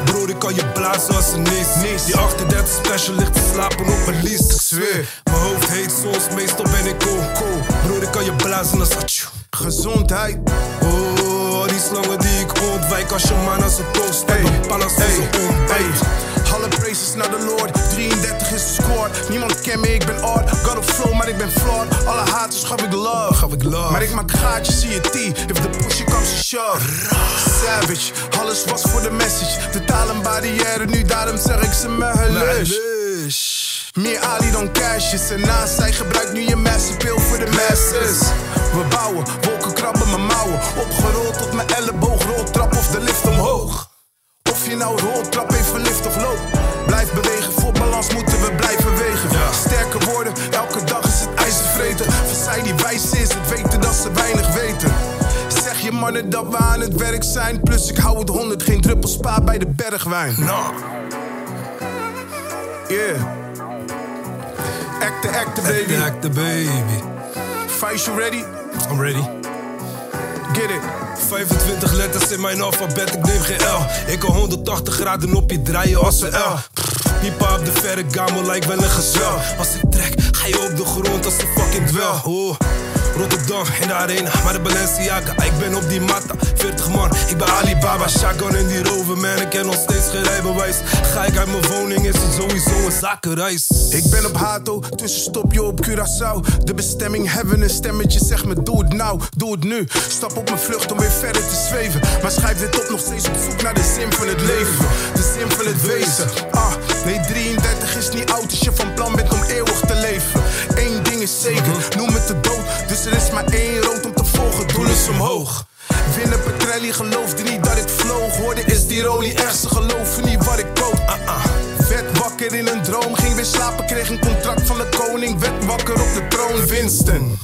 M: Broer, ik kan je blazen als een nees. Die 38 special ligt te slapen op mijn lies. Ik zweer, mijn hoofd heet soms, meestal ben ik cool. Broer, ik kan je blazen als atjoe. Gezondheid, oh, al die slangen die ik ontwijk als je man als een toast. Hey, een pan als een ontbijt.
N: Alle praises naar de Lord, 33 is de score. Niemand kent me, ik ben odd. God of flow, maar ik ben flawed. Alle haters gaf ik love, gaf ik love. Maar ik maak gaatjes, zie je tea. If the push comes to shove. Savage, alles was voor de message. De taal een barrière, nu daarom zeg ik ze me hullus. Meer Ali dan cashes en naast zij gebruikt nu je masterpeel voor de masses. We bouwen, wolken krabben mijn mouwen. Opgerold tot mijn elleboog, roltrap of de lift omhoog. Of je nou roltrap even lift of loop. Blijf bewegen, voor balans moeten we blijven wegen. Sterke woorden, elke dag is het ijzervreten. Voor zij die wijs is, het weten dat ze weinig weten. Zeg je mannen dat we aan het werk zijn. Plus ik hou het honderd, geen druppel spa bij de bergwijn. Nou. Yeah. Acte, acte, baby. Acte, baby. Fight, you ready?
M: I'm ready.
N: Get it.
M: 25 letters in mijn alfabet, ik neem geen L. Ik kan 180 graden op je draaien als een L. Pff, Piepa op de verre gamel lijkt wel een gezel. Als ik trek, ga je op de grond als een fucking dwel. Oh. Rotterdam in de arena, maar de Balenciaga. Ik ben op die matta, 40 man. Ik ben Alibaba, shotgun in die rover, man. Ik heb nog steeds geen rijbewijs. Ga ik uit mijn woning, is het sowieso een zakenreis.
N: Ik ben op Hato, tussenstopje op Curaçao. De bestemming hebben een stemmetje, zeg me doe het nou, doe het nu. Stap op mijn vlucht om weer verder te zweven. Maar schrijf dit op, nog steeds op zoek naar de zin van het leven. De zin van het wezen. Ah, nee, 33 is niet oud als je van plan bent om eeuwig te leven. Eén ding is zeker, noem het de dood. Dus er is maar één rood om te volgen, doel is omhoog. Winnen Petrelli geloofde niet dat ik vloog. Hoorde is die rolie echt, ze geloven niet wat ik koop. Ah ah. Werd wakker in een droom, ging weer slapen, kreeg een contract van de koning. Werd wakker op de troon, Winston.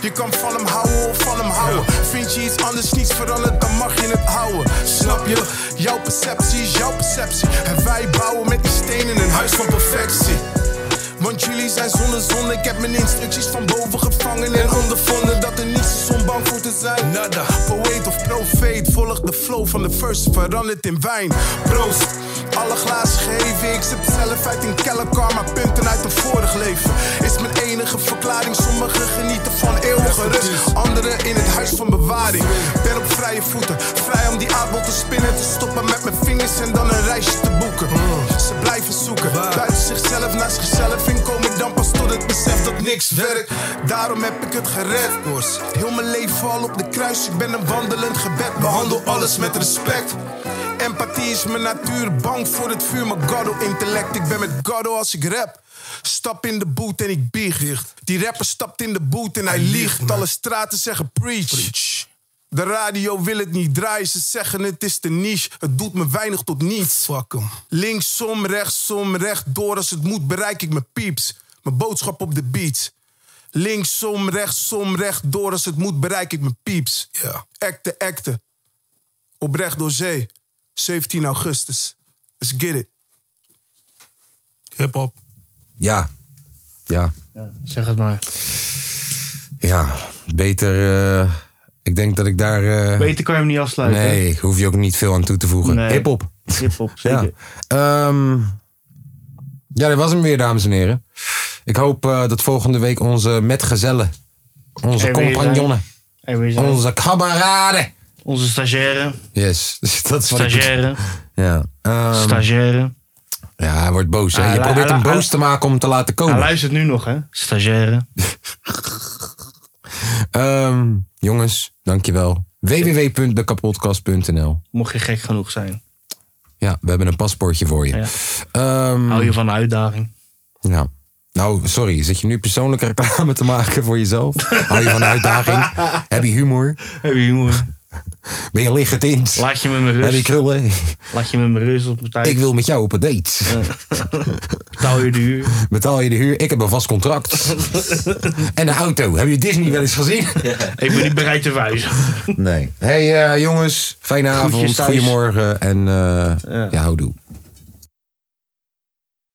N: Je kan van hem houden of van hem houden. Vind je iets anders niets veranderd, dan mag je het houden. Snap je? Jouw perceptie is jouw perceptie. En wij bouwen met die stenen een huis van perfectie. Want jullie zijn zonder zon. Ik heb mijn instructies van boven gevangen en ondervonden dat er niets is om bang voor te zijn. Nada, poëet of profeet, volg de flow van de verse, veranderd in wijn. Proost, alle glazen geheven. Ik zit zelf uit een kellerkar, maar punten uit een vorig leven. Is mijn enige verklaring. Sommigen genieten van eeuwige rust, anderen in het huis van bewaring. Ben op vrije voeten, vrij om die aardbol te spinnen, te stoppen met mijn vingers en dan een reisje te boeken. Ze blijven zoeken, buiten zichzelf, naar zichzelf in komen dan pas tot het besef dat niks werkt. Daarom heb ik het gered, Koers. Heel mijn leven al op de kruis, ik ben een wandelend gebed. Behandel alles met respect. Empathie is mijn natuur, bang voor het vuur, maar Goddo intellect. Ik ben met Goddo als ik rap. Stap in de boot en ik biecht. Die rapper stapt in de boot en hij liegt. Alle straten zeggen preach. De radio wil het niet draaien, ze zeggen het is de niche. Het doet me weinig tot niets. Fuck em. Linksom, rechtsom, rechtdoor. Als het moet bereik ik mijn pieps. Mijn boodschap op de beat. Linksom, rechtsom, rechtdoor. Als het moet bereik ik mijn pieps. Ja. Acte, acte. Oprecht door zee. 17 augustus. Let's get it.
M: Hip-hop.
A: Ja. Ja.
B: Zeg het maar.
A: Ja. Beter. eh, ik denk dat ik daar. eh,
B: Beter kan je hem niet afsluiten.
A: Nee, hoef je ook niet veel aan toe te voegen.
B: Nee.
A: Hip-hop.
B: Hip-hop,
A: Ja.
B: zeker.
A: Ehm, ja, dat was hem weer, dames en heren. Ik hoop eh, dat volgende week onze metgezellen, onze
B: Er weer
A: compagnonnen,
B: zijn. Er weer zijn.
A: onze kameraden.
B: Onze stagiaire.
A: Yes, dat is wat ik-
B: Stagiaire.
A: Ja. ehm,
B: Stagiaire. Ah,
A: Ja, hij wordt boos. Hè?
B: Hij
A: Je
B: lu-
A: probeert
B: hij
A: hem
B: lu-
A: boos te maken om hem te laten
B: Hij
A: komen.
B: luistert nu nog, hè? Stagiaire.
A: Ehm, jongens, dankjewel. www.dekapodcast.nl
B: Mocht je gek genoeg zijn.
A: Ja, we hebben een paspoortje voor je.
B: Hou je van de uitdaging?
A: Nou, nou, sorry. Zit je nu persoonlijke reclame te maken voor jezelf? Hou je van de uitdaging? Heb je humor?
B: Heb je humor?
A: Ben je lichtgetint?
B: Laat je me met
A: Heb je
B: rust.
A: krullen?
B: Laat je me met rust op mijn tijd.
A: Ik wil met jou op een date.
B: Betaal je de huur?
A: Betaal je de huur? Ik heb een vast contract. en een auto. Heb je Disney wel eens gezien?
B: Ik ben niet bereid te wijzen.
A: Nee. hey, eh, jongens, fijne
B: Groetjes
A: avond,
B: thuis.
A: goedemorgen en eh ja. houdoe.